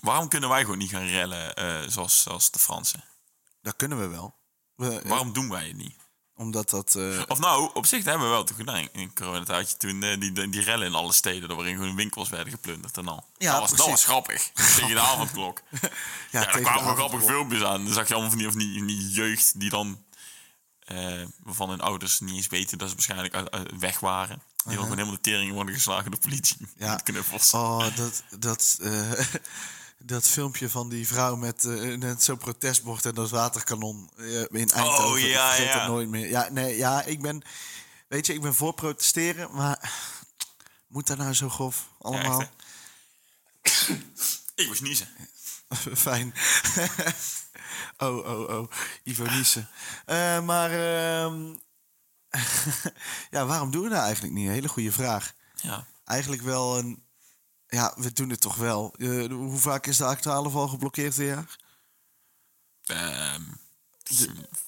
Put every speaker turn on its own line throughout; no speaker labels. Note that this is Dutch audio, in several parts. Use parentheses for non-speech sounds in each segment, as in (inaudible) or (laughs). Waarom kunnen wij gewoon niet gaan rellen eh, zoals, zoals de Fransen?
Dat kunnen we wel. We- eh,
Waarom doen wij het niet?
omdat
(laughs)
dat... eh,
Of nou, op zich dat hebben we wel toch gedaan. In coronatijdje toen eh, die, die, die rellen in alle steden, er waarin gewoon winkels werden geplunderd en al.
Ja,
dat, was, dat
precies.
was
(laughs)
grappig. Tegen de avondklok. ja,
ja,
daar
tegen
kwamen
de
wel
avondklok.
grappige filmpjes aan. Dan zag je allemaal van die, van die, van die jeugd die dan, eh, waarvan hun ouders niet eens weten dat ze waarschijnlijk uit- uit- weg waren. Die dan gewoon helemaal de tering worden geslagen door de politie.
Uh-huh.
(laughs)
Ja.
Met knuffels.
Oh, dat, dat, eh, (laughs) dat filmpje van die vrouw met, eh, net zo'n protestbord en dat waterkanon eh, in Eindhoven.
Oh,
Ik
ja,
vergeet
ja.
dat nooit meer. Ja, nee, ja, ik ben... Weet je, ik ben voor protesteren, maar... Moet dat nou zo grof allemaal?
Ja, echt,
(laughs) Oh.
Ik moest niezen.
Fijn. (laughs) oh, oh, oh. Ivo Niessen. Eh, maar... ehm, (laughs) ja, waarom doen we dat eigenlijk niet? Hele goede vraag.
Ja.
eigenlijk wel een. Ja, we doen het toch wel. Eh, hoe vaak is de actaalf al geblokkeerd dit jaar?
Ehm,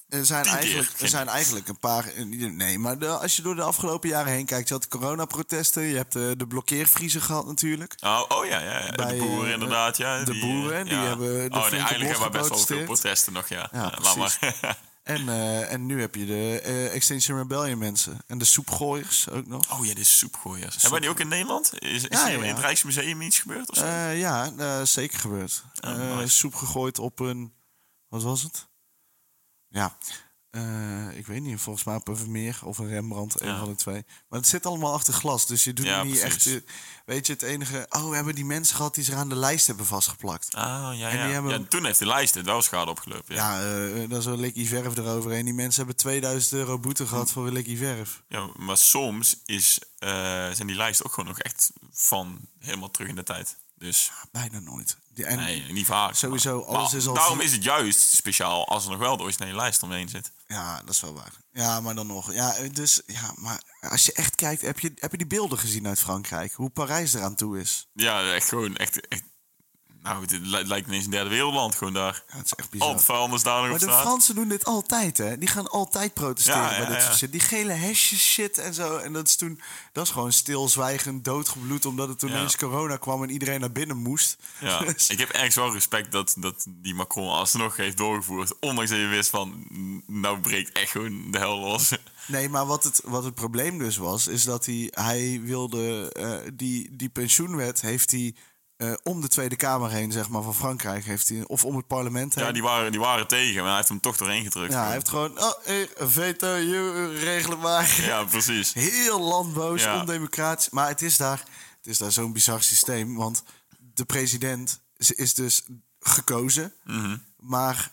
Er zijn,
Tien keer,
eigenlijk, er
vind
zijn eigenlijk een paar. Nee, maar de- als je door de afgelopen jaren heen kijkt, je had de coronaprotesten, je hebt eh, de, de blokkeervriezen gehad natuurlijk.
Oh, oh ja, ja, ja.
Bij,
de boeren
eh,
inderdaad, ja.
de
die,
boeren,
eh,
die hebben de
oh, nee,
flinke
eigenlijk hebben we best wel veel
geprotesteerd.
protesten nog, ja.
Ja,
Eh, laat
precies.
maar. (laughs)
En, eh, en nu heb je de eh, Extinction Rebellion mensen. En de soepgooiers ook nog.
oh ja, dit is soepgooiers. Hebben die ook in Nederland? Is, is
Ja,
hier
ja,
in
ja.
het Rijksmuseum iets gebeurd of zo? Oh,
Eh, ja, eh, zeker gebeurd. Eh,
nice.
Soep gegooid op een. Wat was het? Ja, eh, ik weet niet. Volgens mij op een Vermeer of een Rembrandt. Een
Ja.
van de twee. Maar het zit allemaal achter glas. Dus je doet
Ja,
het niet
precies.
echt. eh, Weet je, het enige. Oh, we hebben die mensen gehad die zich aan de lijst hebben vastgeplakt.
ah, ja,
en
ja.
die hebben-
ja. Toen heeft die lijst het wel schade opgelopen, ja.
Ja, eh dan zo'n likkie verf eroverheen. Die mensen hebben 2000 euro boete
Hm.
gehad voor een likkie verf.
ja. maar soms is, eh, zijn die lijsten ook gewoon nog echt van helemaal terug in de tijd. Dus
Ah, Bijna nooit. Die, en,
nee, niet vaak.
Sowieso,
maar-
alles
maar
is al
Daarom
vier-
is het juist speciaal als er nog wel de originele lijst omheen zit.
Ja, dat is wel waar. Ja, maar dan nog. Ja, eh, dus, ja, maar als je echt kijkt, heb je, heb je die beelden gezien uit Frankrijk? Hoe Parijs eraan toe is.
Ja, echt gewoon, echt, echt nou, het li- lijkt ineens een derde wereldland gewoon daar.
Ja, het is echt
Al
bizar.
het vuilnis daar nog
Maar
op
de
straat.
Fransen doen dit altijd, hè? Die gaan altijd protesteren
Ja, ja,
bij dit
ja.
soort shit. Die gele hesjes shit en zo. En dat is toen... Dat is gewoon stilzwijgend, doodgebloed... omdat het toen
Ja.
eens corona kwam en iedereen naar binnen moest.
Ja,
(laughs) Dus-
ik heb ergens wel respect dat, dat die Macron alsnog heeft doorgevoerd. Ondanks dat je wist van, n- nou breekt echt gewoon de hel los.
Nee, maar wat het, wat het probleem dus was, is dat hij, hij wilde eh, die, die pensioenwet heeft hij eh, om de Tweede Kamer heen, zeg maar, van Frankrijk heeft hij, of om het parlement heen.
Ja, die waren, die waren tegen, maar hij heeft hem toch doorheen gedrukt.
Ja, hij heeft gewoon oh, eh, veto, you, eh, regelen maar.
Ja, precies.
Heel landboos,
Ja.
ondemocratisch. Maar het is daar, het is daar zo'n bizar systeem, want de president is- is dus gekozen, maar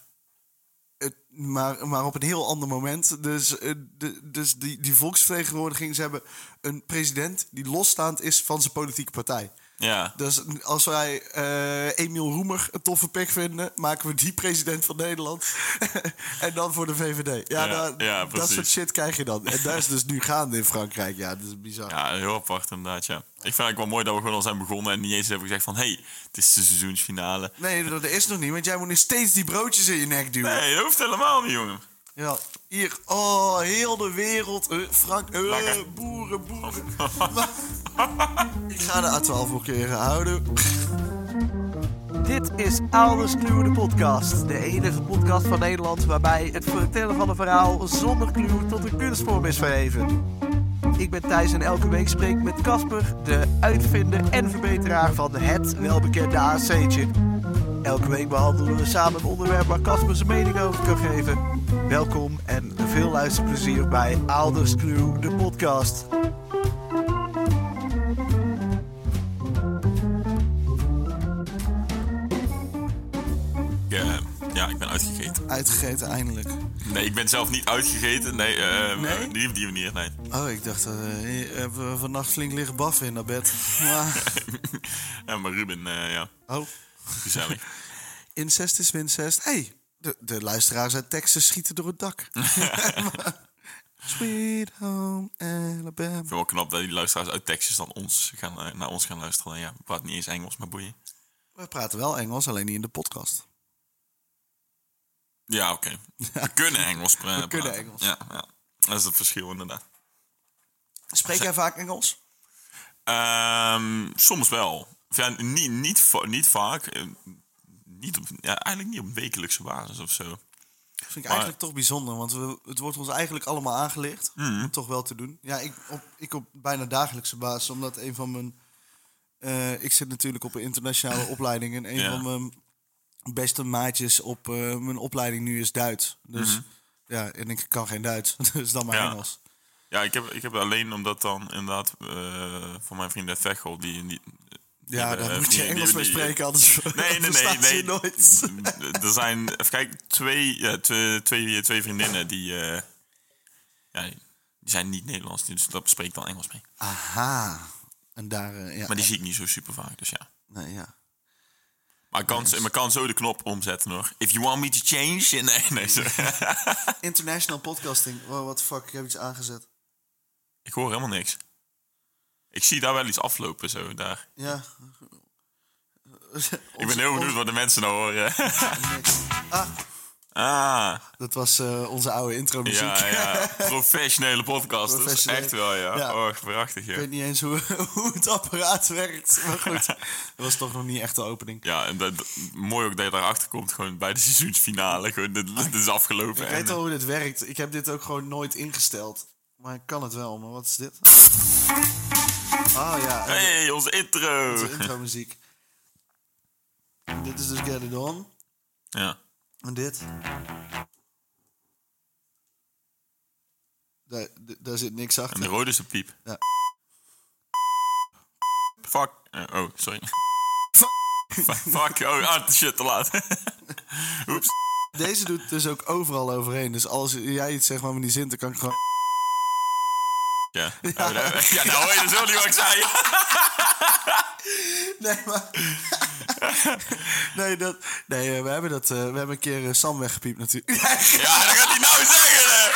het- maar, maar op een heel ander moment. Dus, eh, de, dus die, die volksvertegenwoordiging, ze hebben een president die losstaand is van zijn politieke partij.
Ja,
Dus als wij eh Emiel Roemer een toffe pick vinden, maken we die president van Nederland. (laughs) en dan voor de VVD. Ja,
Ja,
nou,
ja,
dat
precies.
soort shit krijg je dan. En daar is dus nu gaande in Frankrijk. Ja, dat is bizar.
ja heel apart inderdaad, ja. Ik vind eigenlijk wel mooi dat we gewoon al zijn begonnen en niet eens hebben gezegd van... hey, het is de seizoensfinale.
Nee, dat is nog niet, want jij moet nog steeds die broodjes in je nek duwen.
Nee, dat hoeft helemaal niet, jongen.
Ja, hier. Oh, heel de wereld. eh, Frank, eh,
Lekker.
boeren, boeren. (laughs) Ik ga de A12 blokkeren. Houden.
Dit is Ouders Kluwen, de podcast. De enige podcast van Nederland waarbij het vertellen van een verhaal zonder kluw tot een kunstvorm is verheven. Ik ben Thijs en elke week spreek ik met Casper, de uitvinder en verbeteraar van het welbekende AC'tje. Elke week behandelen we samen een onderwerp waar Casper zijn mening over kan geven. Welkom en veel luisterplezier bij Ouders Kluwen, de podcast.
Ik, eh, ja, ik ben uitgegeten.
Uitgegeten, eindelijk.
Nee, ik ben zelf niet uitgegeten. Nee, eh,
Nee?
niet op die manier, nee. (laughs)
Oh, ik dacht, eh, hier hebben we vannacht flink liggen baffen in dat bed.
(laughs)
Maar,
ja, maar Ruben, eh, ja,
oh, (laughs)
gezellig.
incest is wincest. Hé, hey, de, de luisteraars uit Texas schieten door het
(laughs)
dak. Sweet home Alabama.
Ik vind het wel knap dat die luisteraars uit Texas dan ons gaan, eh, naar ons gaan luisteren. En Ja, ik praat niet eens Engels, maar boeien.
We praten wel Engels, alleen niet in de podcast.
Ja, oké. We kunnen Engels pra- praten.
kunnen Engels.
Ja, ja, dat is het verschil inderdaad.
Spreek jij vaak Engels?
Ehm, soms wel. Of ja, niet, niet, va- niet vaak. eh, Niet op, ja, eigenlijk niet op wekelijkse basis of zo.
vind ik eigenlijk toch bijzonder, want we, het wordt ons eigenlijk allemaal aangelicht om
Mhm.
het toch wel te doen. Ja, ik op, ik op bijna dagelijkse basis, omdat een van mijn... eh, ik zit natuurlijk op een
(laughs)
internationale opleiding en een
Ja.
van mijn beste maatjes op eh, mijn opleiding nu is Duits. Dus ja, en ik kan geen Duits, (laughs) dus dan maar
Mhm. Ja.
Engels.
Ja, ik heb, ik heb alleen omdat dan inderdaad eh, van mijn vriend uit Veghel, die, die
Ja,
eh,
daar moet je
die- die-
Engels mee
die-
spreken,
(laughs)
anders
Nee, nee, nee.
verstaat
nee. Mhm.
je nooit.
(laughs) Er zijn, even kijken, twee, ja, twee, twee, twee vriendinnen die, eh, ja, die zijn niet Nederlands, dus dat spreekt dan Engels mee.
Aha. En daar, eh, ja.
Maar die zie ik niet zo super vaak, dus ja.
Nee, ja.
Maar ik kan,
dus-
maar ik kan zo de knop omzetten hoor. If you want me to change. (laughs) Nee, nee. zo.
International podcasting. Oh, what the fuck, ik heb iets aangezet.
ik hoor helemaal niks. Ik zie daar wel iets aflopen zo. Daar.
Ja.
Ik ben heel benieuwd wat de mensen nou horen.
(laughs) Ah,
ah,
dat was eh, onze oude intro muziek.
ja, ja. Professionele podcasters.
Professioneel.
Echt wel, ja.
Ja.
Oh, prachtig,
Ik
joh.
weet niet eens hoe, (laughs) hoe het apparaat werkt. Maar goed, dat was toch nog niet echt de opening.
Ja, en dat, mooi ook dat je daarachter komt, gewoon bij de (laughs) seizoensfinale. Gewoon, dit, dit is afgelopen.
Ik
en,
weet al hoe dit werkt. Ik heb dit ook gewoon nooit ingesteld. Maar ik kan het wel, maar wat is dit? Ah ja, eh,
Hey, onze intro!
onze (laughs) intro muziek. Dit is dus Get It On.
Ja.
En dit? Daar, d- daar zit niks
En de
achter.
rode is een piep.
Ja.
Fuck. Eh, oh, sorry. (laughs) Fuck. Oh, ah, shit, te laat. (laughs) Oeps.
Deze doet dus ook overal overheen. Dus als jij iets zegt waar me niet zin, dan kan ik gewoon... (laughs)
Ja. Oh, daar- (laughs) ja, nou hoor je dus wel niet wat ik zei.
Nee, maar... (laughs) nee, dat... nee eh, we hebben dat... eh, we hebben een keer eh, Sam weggepiept natuurlijk. (laughs)
Ja, dat gaat hij nou zeggen, hè.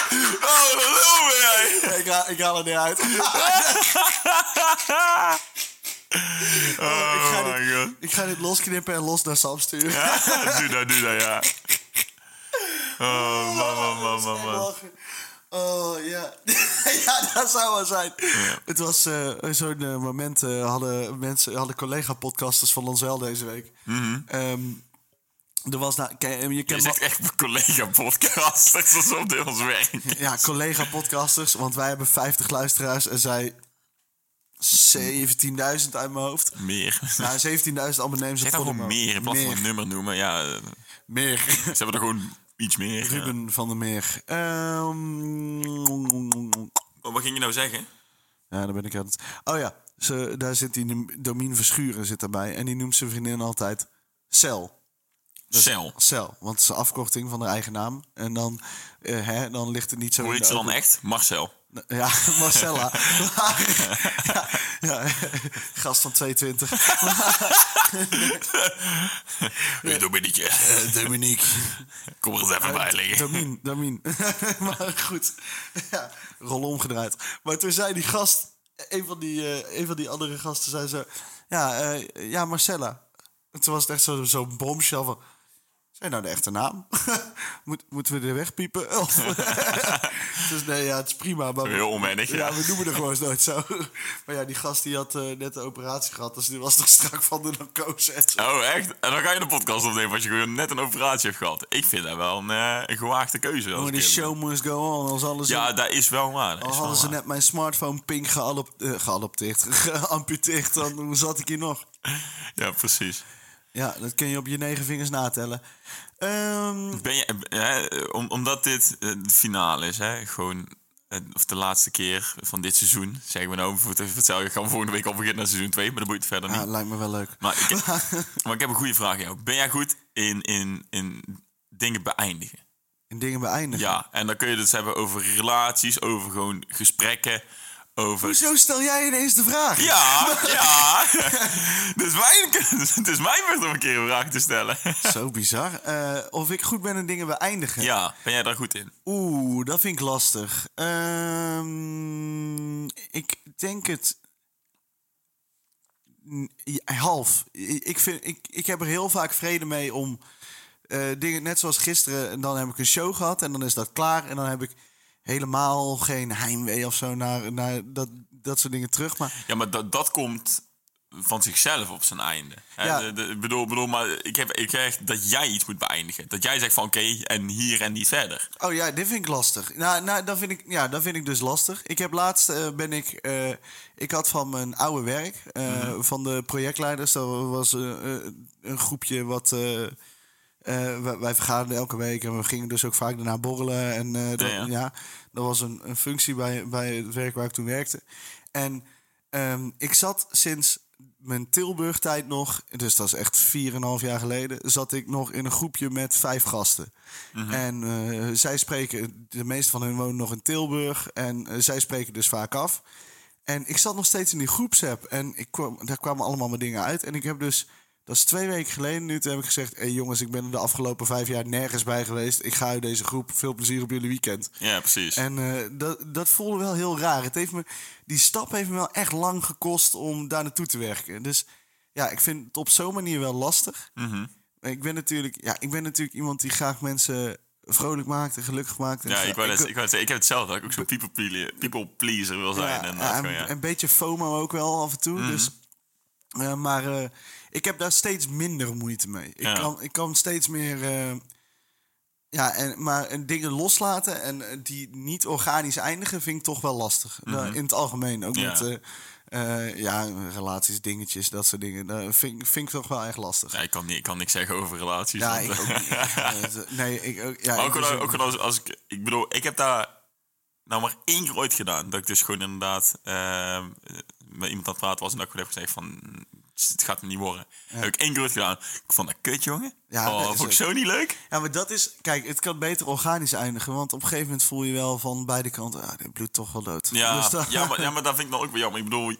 Oh, wat lul ben jij.
ik, haal, ik haal het niet uit. (laughs)
Oh,
ik ga
my god. (laughs)
ik ga dit losknippen en los naar Sam sturen.
doe dat, doe dat, ja. Oh, man, man, man, man, man.
Oh ja. (laughs) ja, dat zou wel zijn. Het was eh, zo'n eh, moment. eh, hadden mensen, hadden collega-podcasters van ons wel deze week. Ehm, er was nou, ken- je
Mhm. Je
kent wel-
zegt echt mijn collega-podcasters alsof dit ons werk
ja, collega-podcasters, want wij hebben 50 luisteraars en zij 17.000 uit mijn hoofd.
Meer.
Nou, 17.000 abonnees op
Zeg dan gewoon
Podimo.
meer in plaats van
Meer,
een nummer noemen. Ja, eh,
meer.
ze hebben er gewoon iets meer. ja.
Ruben van der Meer. Ehm
Oh, wat ging je nou zeggen?
Ja, daar ben ik aan het... Oh ja, ze, daar zit die noem- Domien Verschuren zit daarbij. En die noemt zijn vriendin altijd Cel.
Cel.
Cel, want het is een afkorting van haar eigen naam. En dan, eh, hè, dan ligt het niet zo...
Hoe
in
heet
de
ze dan
open-
echt? Marcel.
(laughs) Ja,
(laughs)
Marcella. ja, ja, gast van 22.
Hey, Dominique,
Dominique.
kom er eens even bij liggen.
Domien, Domien. (laughs) maar goed, ja, rol omgedraaid. Maar toen zei die gast, een van die, eh, een van die andere gasten zei zo... Ja, eh, ja Marcella. En toen was het echt zo- zo'n bombshell van... Zijn nou de echte naam? (laughs) Moet, moeten we er wegpiepen? (laughs) Of- dus nee, ja, het is prima. Maar
Heel onwennig, ja.
ja, we noemen er gewoon eens nooit zo. (laughs) maar ja, die gast die had eh, net een operatie gehad. Dus die was toch strak van de narcose en zo.
Oh, echt? En dan ga je een podcast opnemen als je gewoon net een operatie hebt gehad. Ik vind dat wel een, eh, een gewaagde keuze. als
Maar
ik
Oh, die
eerlijk ben.
show must go on. Als alles
Ja, dat is wel waar. dat
Al
is wel
Oh, hadden ze
waar.
net mijn smartphone pink geadop- eh, geadopteerd, (laughs) geamputeerd, dan hoe zat ik hier nog?
Ja, precies.
Ja, dat kun je op je negen vingers natellen. Ehm,
Ben je, eh, hè, om, omdat dit eh, het finale is, hè, gewoon, eh, of de laatste keer van dit seizoen, zeggen we nou, voor het voor hetzelfde gaan we volgende week al beginnen naar seizoen 2, maar dat boeit verder niet.
ja, ah, lijkt me wel leuk.
Maar ik, heb, maar ik heb een goede vraag aan jou. Ben jij goed in, in, in dingen beëindigen?
En dingen beëindigen.
Ja, en dan kun je het dus hebben over relaties, over gewoon gesprekken, over...
Hoezo stel jij ineens de vraag?
Ja, (laughs) ja. dus, mijn, (laughs) het is mijn beurt om een keer een vraag te stellen. (laughs)
Zo bizar. Eh, of ik goed ben in dingen beëindigen.
ja, ben jij daar goed in?
Oeh, dat vind ik lastig. Ehm, ik denk het. N- ja, Half. I- Ik, vind, ik, ik heb er heel vaak vrede mee om eh, dingen, net zoals gisteren, en dan heb ik een show gehad en dan is dat klaar. En dan heb ik helemaal geen heimwee of zo naar, naar dat, dat soort dingen terug. Maar
Ja, maar dat, dat komt van zichzelf op zijn einde. Hè,
Ja.
de- de- Ik bedoel, bedoel, maar ik heb, ik heb echt dat jij iets moet beëindigen. Dat jij zegt van oké, en hier en niet verder.
Oh ja, dit vind ik lastig. Nou, nou dat, vind ik, ja, dat vind ik dus lastig. Ik heb laatst, eh, ben ik... eh, ik had van mijn oude werk, eh,
Mhm.
van de projectleiders... Dat was eh, eh, een groepje wat... eh, eh, wij, wij vergaderden elke week en we gingen dus ook vaak daarna borrelen. En eh, dat,
ja.
ja. dat was een, een functie bij, bij het werk waar ik toen werkte. En ehm, ik zat sinds mijn Tilburg-tijd nog... dus dat is echt 4,5 jaar geleden... zat ik nog in een groepje met vijf gasten. En eh, zij spreken, de meeste van hun wonen nog in Tilburg. En eh, zij spreken dus vaak af. En ik zat nog steeds in die groepsapp. En ik kwam, daar kwamen allemaal mijn dingen uit. En ik heb dus, dat is twee weken geleden nu, toen heb ik gezegd... Hé hey jongens, ik ben er de afgelopen vijf jaar nergens bij geweest. Ik ga uit deze groep. Veel plezier op jullie weekend.
Ja, precies.
En eh, dat, dat voelde wel heel raar. Het heeft me, die stap heeft me wel echt lang gekost om daar naartoe te werken. Dus ja, ik vind het op zo'n manier wel lastig.
Mhm.
ik, ben natuurlijk, ja, ik ben natuurlijk iemand die graag mensen vrolijk maakt en gelukkig maakt. En
ja,
gra-
dus, ik wou, net- ik wou net zeggen, ik heb hetzelfde. Dat ik ook zo'n people, pleaser- people pleaser wil zijn.
ja,
inderdaad,
en-
gewoon, ja.
Een beetje FOMO ook wel af en toe.
Mhm.
dus, eh, maar eh, ik heb daar steeds minder moeite mee. Ik,
Ja.
kan, ik kan steeds meer... eh, ja, en, maar en dingen loslaten en eh, die niet organisch eindigen vind ik toch wel lastig. Da- in het algemeen. Ook
Mhm. Ja.
met eh, eh, ja, relaties, dingetjes, dat soort dingen. Dat vind, ik- vind ik toch wel echt lastig.
Ja, ik, kan niet, ik kan niks zeggen over relaties.
Ja,
want,
ik ook
(laughs)
niet. Ja, het- nee, ik ook... Ja,
Maar
ik
ook,
dus
wel- ook wel als, als ik, ik bedoel, ik heb daar nou maar één keer ooit gedaan. Dat ik dus gewoon inderdaad ehm, met iemand aan het praten was en dat ik gewoon heb gezegd van, het gaat me niet worden. Heb ik één keer ooit gedaan. Ik vond dat kut, jongen.
Ja,
oh,
dat is
vond ik
ook-
zo niet leuk.
Ja, maar dat is... Kijk, het kan beter organisch eindigen. Want op een gegeven moment voel je wel van beide kanten... Ah, dit bloedt toch wel dood.
Ja,
Dus dat-
ja, maar, ja, maar dat vind ik dan ook wel jammer. Ik bedoel,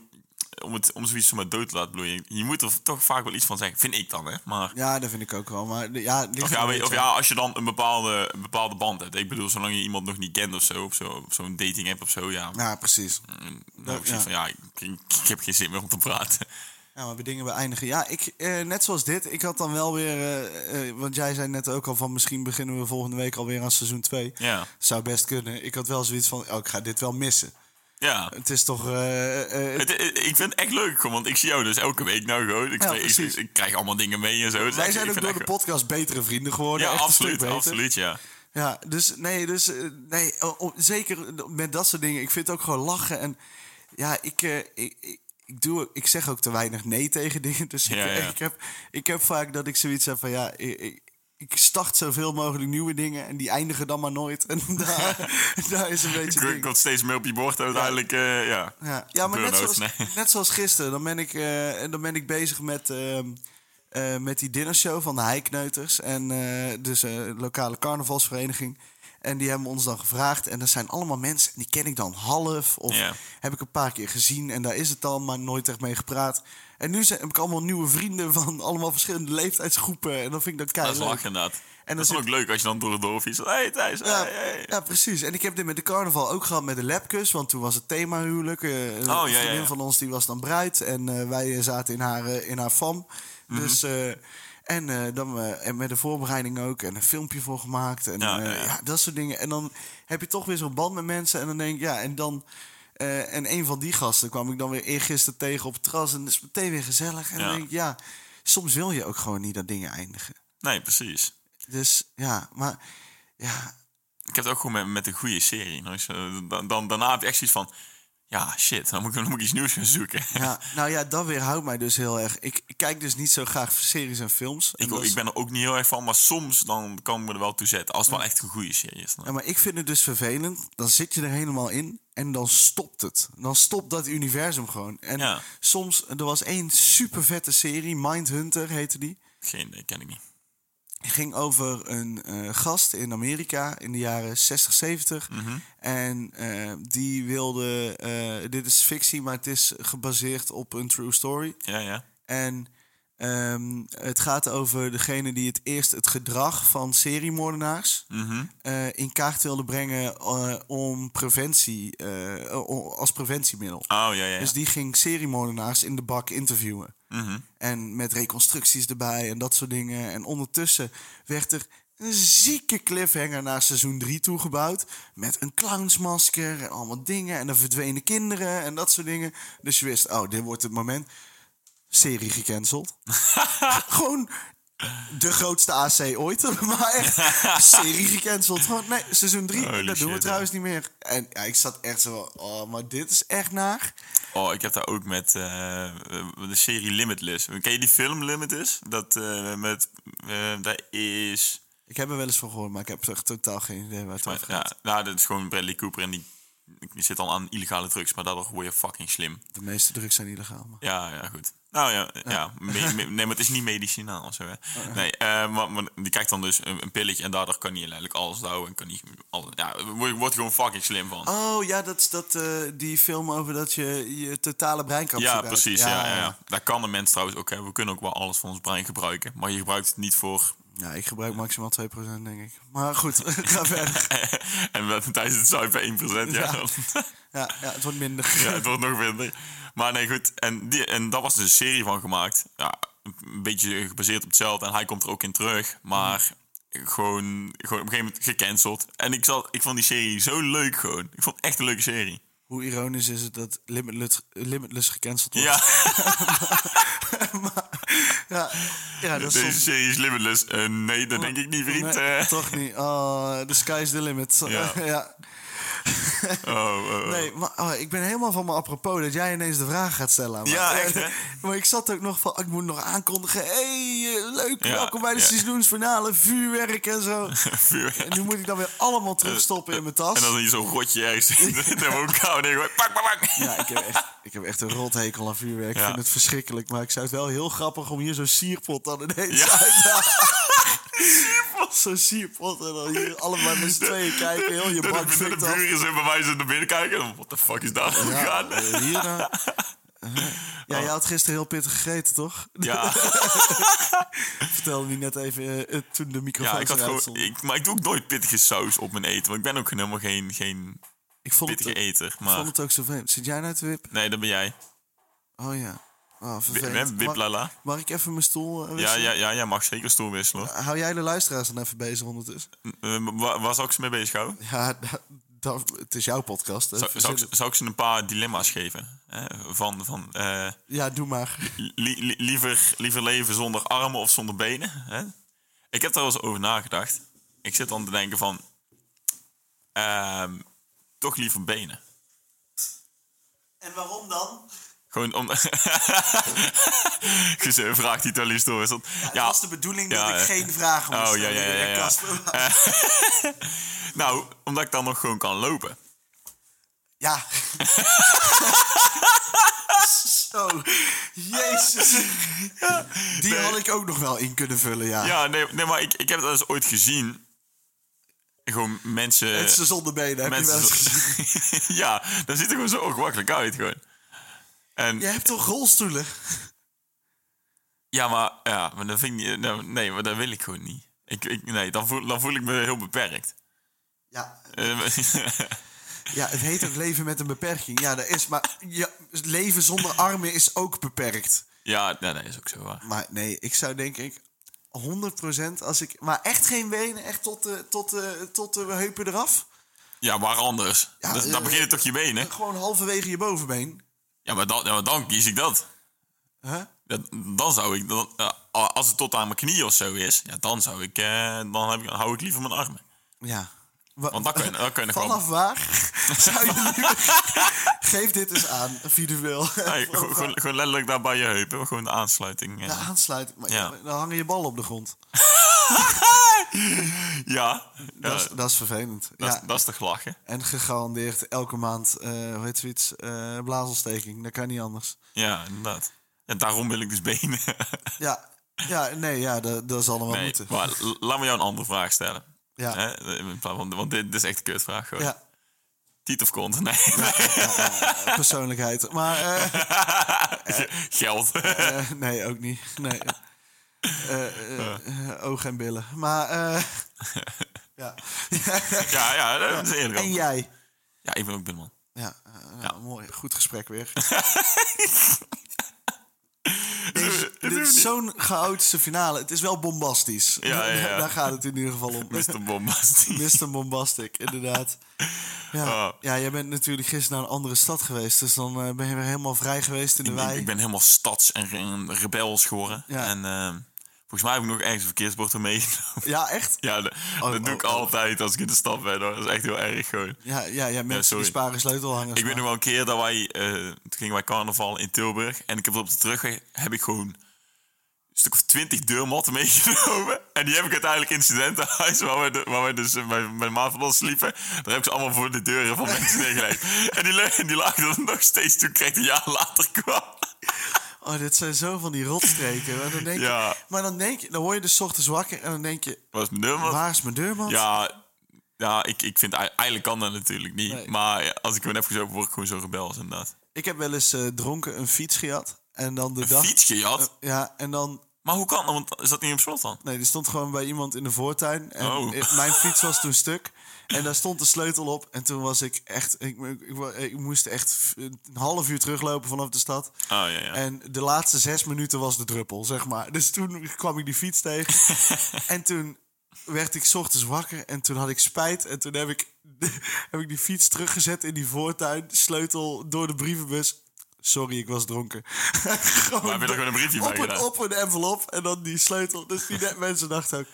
om, het, om zoiets zomaar dood te laten bloeien, je moet er toch vaak wel iets van zeggen. Vind ik dan, hè. Maar,
(laughs) Ja, dat vind ik ook wel. Maar de- ja, het ligt
of,
er
ja,
een
weet- of
beetje
ja,
aan.
als je dan een bepaalde, een bepaalde band hebt. Ik bedoel, zolang je iemand nog niet kent of zo, op zo'n op zo'n dating app of zo, ja. Mm.
Ja, precies.
En Dan heb Nou, ik
Nou, Ja.
zoiets van, ja, ik, ik- ik heb geen zin meer om te praten. (laughs)
Ja, maar we dingen beëindigen. Ja, ik, eh, net zoals dit. Ik had dan wel weer... eh, eh, want jij zei net ook al van... Misschien beginnen we volgende week alweer aan seizoen 2.
Ja.
Zou best kunnen. Ik had wel zoiets van... Oh, ik ga dit wel missen.
Ja.
Het is toch... eh, eh,
Het, het- ik vind het echt leuk, gewoon, want ik zie jou dus elke week nou gewoon. Ik,
Ja,
ik- ik,
precies.
ik krijg allemaal dingen mee en zo. Dus
wij
ik-
zijn
ik
ook
vind
door de
echt-
podcast betere vrienden geworden.
Ja,
Echt een stuk
absoluut,
beter.
absoluut, ja.
Ja, dus nee, dus eh, nee, o- o- zeker met dat soort dingen. Ik vind het ook gewoon lachen. En ja, ik, eh, ik, ik, ik doe, ik zeg ook te weinig nee tegen dingen. (laughs) Dus ik,
Ja, ja.
Ik, heb, ik heb vaak dat ik zoiets heb van ja, ik, ik- ik start zoveel mogelijk nieuwe dingen en die eindigen dan maar nooit. (laughs) En daar, (laughs) daar is een beetje.
Ik
het ding.
word steeds meer op je bord uiteindelijk, eh, ja.
Ja, ja maar net
Burn-out,
zoals,
nee.
net zoals gisteren, dan ben ik, eh, en dan ben ik bezig met, ehm, eh, met die dinnershow van de Heikneuters. En eh, dus eh lokale carnavalsvereniging. En die hebben ons dan gevraagd. En dat zijn allemaal mensen, en die ken ik dan half. Of
Ja.
heb ik een paar keer gezien en daar is het dan, maar nooit echt mee gepraat. En nu zijn, heb ik allemaal nieuwe vrienden van allemaal verschillende leeftijdsgroepen. En dan vind ik dat
Dat is
keihard.
lachen inderdaad.
dan
En dat is
zit-
ook leuk als je dan door het dorp fietst. Hé hey, Thijs,
Ja,
hey, hey.
ja, precies. En ik heb dit met de carnaval ook gehad met de Lepkes. Want toen was het thema huwelijk. Eh, een
Oh, ja, ja,
vriendin
ja.
van ons die was dan bruid. En eh, wij zaten in haar, eh, in haar fam.
Mhm.
Dus... eh, en, eh, dan, eh, en met de voorbereiding ook. En een filmpje voor gemaakt. En
Ja,
eh,
ja, ja.
ja, dat soort dingen. En dan heb je toch weer zo'n band met mensen. En dan denk ik, ja, en dan... eh, en een van die gasten kwam ik dan weer eergisteren tegen op het terras. En dat is meteen weer gezellig. En
Ja.
dan denk ik, ja... Soms wil je ook gewoon niet dat dingen eindigen.
Nee, precies.
Dus ja, maar... Ja,
Ik heb het ook gewoon met, met een goede serie. Nou, is, eh, dan, dan, daarna heb je echt zoiets van... Ja, shit, dan moet ik, dan moet ik iets nieuws gaan zoeken.
Ja, nou ja, dat weerhoudt mij dus heel erg. Ik, ik kijk dus niet zo graag series en films. En
ik,
dat is-
ik ben er ook niet heel erg van, maar soms dan kan ik me er wel toe zetten. Als het wel echt een goede serie is. dan.
Ja, maar ik vind het dus vervelend. Dan zit je er helemaal in en dan stopt het. Dan stopt dat universum gewoon. En
Ja.
soms, er was één super vette serie, Mindhunter heette die.
Geen, idee, ken ik niet.
Het ging over een eh, gast in Amerika in de jaren 60, 70.
Mhm.
En eh, die wilde, eh, dit is fictie, maar het is gebaseerd op een true story.
Ja, ja.
En ehm, het gaat over degene die het eerst het gedrag van seriemoordenaars eh, in kaart wilde brengen eh, om preventie, eh, o- als preventiemiddel.
Oh, ja, ja. Mhm.
Dus die ging seriemoordenaars in de bak interviewen. En met reconstructies erbij en dat soort dingen. En ondertussen werd er een zieke cliffhanger naar seizoen 3 toegebouwd. Met een clownsmasker en allemaal dingen. En dan verdwenen kinderen en dat soort dingen. Dus je wist, oh, dit wordt het moment. serie
(laughs)
gecanceld. Gewoon de grootste AC ooit. (laughs) Maar echt, serie gecanceld. Gewoon, nee, seizoen 3,
Holy
dat doen we
shit,
trouwens niet meer. En ja, ik zat echt zo van, oh, maar dit is echt naar.
Oh, ik heb daar ook met eh, eh, de serie Limitless. Ken je die film Limitless? Dat eh, met... eh dat is...
Ik heb er wel eens van gehoord, maar ik heb echt totaal geen idee waar het
Maar,
over gaat.
ja, nou, dat is gewoon Bradley Cooper en die, die zit al aan illegale drugs, maar daardoor word je fucking slim.
De meeste drugs zijn illegaal. Maar.
Ja, ja, goed. Nou ja, ja. me- me- nee, maar het is niet medicinaal of zo, hè. Nee, eh, maar, maar die krijgt dan dus een, een pilletje en daardoor kan hij eigenlijk alles houden en kan hij alles... Ja, wordt wordt gewoon fucking slim van.
Oh ja, dat is dat, eh, die film over dat je je totale breinkracht
Ja,
gebruikt.
precies. Ja, ja, ja. Daar kan een mens trouwens ook hebben. We kunnen ook wel alles van ons brein gebruiken. Maar je gebruikt het niet voor...
Ja, ik gebruik maximaal 2% denk ik. Maar goed, (laughs) ga verder.
(laughs) en we- tijdens het zuipen 1%. Ja,
Ja.
dan- (laughs)
Ja, ja, het wordt minder. (laughs)
ja, het wordt nog minder. Maar nee, goed. En, die, en daar was dus een serie van gemaakt. Ja, een beetje gebaseerd op hetzelfde. En hij komt er ook in terug. Maar gewoon, gewoon op een gegeven moment gecanceld. En ik, zat, ik vond die serie zo leuk gewoon. Ik vond het echt een leuke serie.
Hoe ironisch is het dat Limitless, Limitless gecanceld wordt?
Ja,
Ja, ja dat is
deze
soms...
serie is limitless. Eh, nee, dat denk ik niet, vriend.
Nee,
Eh,
toch niet. Oh, the sky's the limit.
Ja.
(laughs) Ja.
oh, oh, oh.
Nee, maar oh, ik ben helemaal van mijn apropos dat jij ineens de vraag gaat stellen. aan mij. (laughs)
Ja, echt, hè?
Maar ik zat ook nog van, ik moet nog aankondigen. hey, eh, leuk,
Ja,
welkom bij de
ja.
seizoensfinale, vuurwerk en
(laughs)
zo.
Vuurwerk.
En nu moet ik dan weer allemaal terugstoppen in mijn tas.
En dan is zo'n rotje ergens in de in de woonkamer. En ik pak, pak, pak.
Ja, ik heb echt, ik heb echt een rothekel aan vuurwerk.
Ja.
Ik vind het verschrikkelijk. Maar ik zou het wel heel grappig om hier zo'n sierpot dan ineens
Ja.
uit te
(laughs)
halen. Zo'n sierpot en dan hier allemaal met z'n tweeën kijken. Heel je
De,
bak
de, de
fikt af.
buren zijn bij mij zo naar binnen kijken. en Wat de fuck is daar aan
Ja,
gegaan?
eh, hier dan. Eh, Ja, jij had gisteren heel pittig gegeten, toch?
Ja,
Vertelde niet net even eh, eh, toen de microfoon
ja ik had
eruit
gewoon,
stond.
ik, maar ik doe ook nooit pittige saus op mijn eten. Want ik ben ook helemaal geen, geen
Ik vond het,
pittige
ook-
eter.
ik
Maar
vond het ook zo vreemd. Zit jij nou te wip?
nee, dat ben jij.
Oh ja. Oh,
We- we-
vervelend. Mag,
Wiplala.
mag ik even mijn stoel eh,
Ja,
wisselen?
ja, ja, jij mag zeker stoel wisselen. hoor.
Hou jij de luisteraars dan even bezig ondertussen? (laughs)
Eh, wa- waar zou ik ze mee bezig houden?
Ja, da- da- het is jouw podcast. hè?
Zou, zou, ik,
Verzin-
zou ik ze een paar dilemma's geven? Eh, van van eh,
Ja, doe maar.
li- li- liever, liever leven zonder armen of zonder benen. Hè? Ik heb daar wel eens over nagedacht. Ik zit dan te denken van... ehm, toch liever benen.
En waarom dan?
Gewoon om... (laughs) Dus, eh, vraag die het wel liefst door. Is dat... Ja,
de bedoeling
dat Ja, ik eh. geen
vragen
moest Oh, ja, stellen, ja, ja, ja. Casper. nou, omdat ik dan nog gewoon kan lopen.
Ja. (laughs) Zo. Jezus. Die
nee.
had ik ook nog wel in kunnen vullen, ja.
Ja, nee, nee maar ik, ik heb dat eens ooit gezien. Gewoon mensen...
Mensen zonder benen, heb je
mensen
wel eens gezien.
(laughs) ja, dat ziet er gewoon zo ongemakkelijk uit. Gewoon. En,
Je
ja.
hebt toch rolstoelen?
maar, ja, maar dat vind ik niet... nou, nee, maar dat wil ik gewoon niet. Ik, ik, nee, dan voel, dan voel ik me heel beperkt. (laughs)
Ja.
Eh,
ja, het heet ook leven met een beperking. Ja, dat is, maar ja, leven zonder armen is ook beperkt.
ja, nee, dat is ook zo waar.
Maar nee, ik zou denk ik 100% als ik. Maar echt geen benen, echt tot de, tot de, tot de heupen eraf.
Ja, waar anders?
Ja,
dat,
eh,
dan begin je toch je benen?
Gewoon halverwege je bovenbeen.
Ja, maar dan, ja, maar dan kies ik dat.
Huh?
Ja, dan zou ik, dan, ja, als het tot aan mijn knie of zo is, ja, dan zou ik, eh, dan heb ik, hou ik liever mijn armen.
Ja. Wa-
Want dan kun je- dan
(laughs)
kun je nog wel-
Vanaf
(laughs)
waar zou je liever- Geef dit eens aan, visueel.
Nee, gewoon, gewoon, gewoon letterlijk daar bij je heupen, gewoon de aansluiting. eh.
De aansluiting. Maar ja,
Ja.
dan hangen je ballen op de grond.
Ja,
Dat is,
eh,
dat is vervelend.
dat,
Ja.
is- dat is toch lachen?
En gegarandeerd elke maand, eh hoe heet zoiets, eh, blaasontsteking. Dat kan niet anders.
Ja, inderdaad. En daarom wil ik dus benen. (laughs)
Ja, ja nee, ja, dat, dat zal allemaal
nee,
moeten.
maar l- laat me jou een andere vraag stellen.
Ja.
Hè? In plaats van- want dit, dit is echt een kutvraag. Gewoon.
Ja.
Tiet of kont? (laughs) Nee.
persoonlijkheid. Maar eh,
Geld. (laughs)
eh, nee, ook niet. Nee. Eh, eh, eh, oog en billen. Maar
(laughs)
eh, ja.
ja, ja, dat is eerlijk.
en jij?
Ja, ik ben ook binnenman.
Ja, eh,
(laughs)
nou, mooi. Goed gesprek weer.
Is, dit
dit
doen we
is
niet.
zo'n chaotische finale. Het is wel bombastisch.
Ja, ja, ja.
(laughs) Daar gaat het in ieder geval om.
(laughs) Mr. Bombastic.
(laughs) Mr. Bombastic, inderdaad. Ja.
Ah.
ja, jij bent natuurlijk gisteren naar een andere stad geweest. Dus dan eh, ben je weer helemaal vrij geweest in de
Ik-
wei.
Ik, ik ben helemaal stads en, re- en rebels geworden.
Ja.
En ehm, volgens mij heb ik nog ergens een verkeersbord er meegenomen.
Ja, echt?
(laughs) Ja, de-
Oh,
dat doe ik
oh, oh.
altijd als ik in de stad ben. Hoor. Dat is echt heel erg gewoon.
Ja, ja, ja mensen
sorry.
die sparen sleutelhangers.
Ik weet nog wel een keer dat wij... eh, toen gingen wij carnaval in Tilburg. En ik heb op de terugweg heb ik gewoon een stuk of twintig deurmatten (laughs) meegenomen. En die heb ik uiteindelijk in het studentenhuis... waar wij, de- waar wij dus eh, bij, bij de maat van ons sliepen... daar heb ik ze allemaal voor de deuren van mensen neergelegd.
(laughs)
En die, le- die lagen er nog steeds toen ik echt een jaar later kwam.
Oh, dit zijn zo van die rotstreken. Maar dan denk,
Ja.
je, maar dan, denk je, dan word je dus 's ochtends wakker en dan denk je...
Dat was mijn nummer.
Waar is mijn deurmat?
Oh. Ja, ja ik, ik vind ei- eigenlijk kan dat natuurlijk niet.
Nee.
Maar ja, als ik gewoon heb gezopen, word ik gewoon zo rebels inderdaad.
Ik heb wel eens eh, dronken een fiets gejat. En dan de dag...
Fiets gejat?
Ja, en dan...
maar hoe kan dat? Want is dat niet op slot dan?
Nee, die stond gewoon bij iemand in de voortuin. En
Oh.
ik- mijn fiets was toen stuk. En daar stond de sleutel op. En toen was ik echt... Ik, ik, ik, wa- ik moest echt een half uur teruglopen vanaf de stad.
Oh ja, ja.
En de laatste zes minuten was de druppel, zeg maar. Dus toen kwam ik die fiets
(laughs)
tegen. en toen werd ik 's ochtends wakker en toen had ik spijt. En toen heb ik, (laughs) heb ik die fiets teruggezet in die voortuin. Sleutel door de brievenbus. Sorry, ik was dronken. (laughs) gewoon
Maar heb je er gewoon een briefje bij
op een,
gedaan?
op een envelop en dan die sleutel. Dus die net- mensen dachten ook...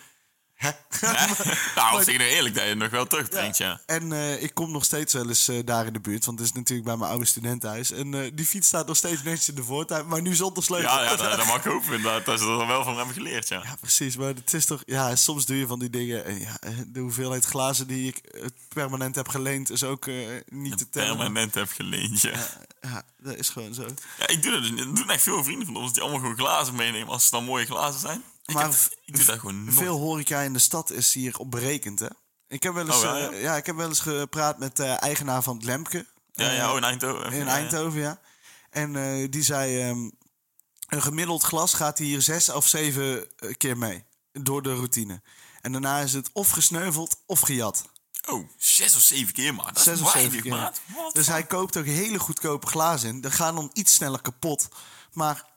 Hè?
Hè?
(laughs) Maar-
(laughs) nou, als ik nou eerlijk dat je het nog wel terugbrengt, ja.
en eh, ik kom nog steeds wel eens eh, daar in de buurt, want het is natuurlijk bij mijn oude studentenhuis. En eh, die fiets staat nog steeds netjes in de voortuin, maar nu zonder sleutel.
Ja,
(laughs)
ja, dat, dat mag ik hopen. inderdaad. Dat ze er wel van hebben geleerd, ja.
Ja, precies. Maar het is toch... Ja, soms doe je van die dingen... En ja, eh, de hoeveelheid glazen die ik eh, permanent heb geleend is ook eh, niet te tellen.
Permanent heb geleend, ja.
Ja, dat is gewoon zo.
Ja, ik doe dat dus niet. Dat doen echt veel vrienden van ons die allemaal gewoon glazen meenemen als ze dan mooie glazen zijn. Ik,
Maar
heb-
v-
ik doe dat gewoon nooit.
Veel horeca in de stad is hier op berekend, hè? Ik heb wel eens,
Oh, ja, ja?
eh, ja, ik heb wel eens gepraat met de eigenaar van het Lemke.
Ja,
Eh,
ja, oh, in Eindhoven.
In
Ja, ja.
Eindhoven, ja. En eh, die zei, ehm, een gemiddeld glas gaat hier zes of zeven eh, keer mee. Door de routine. En daarna is het of gesneuveld of gejat.
Oh, zes of zeven keer, maat. Dat is
Zes of zeven
weinig,
keer.
maat. Wat
Dus hij koopt ook hele goedkope glazen in. Die gaan dan iets sneller kapot. Maar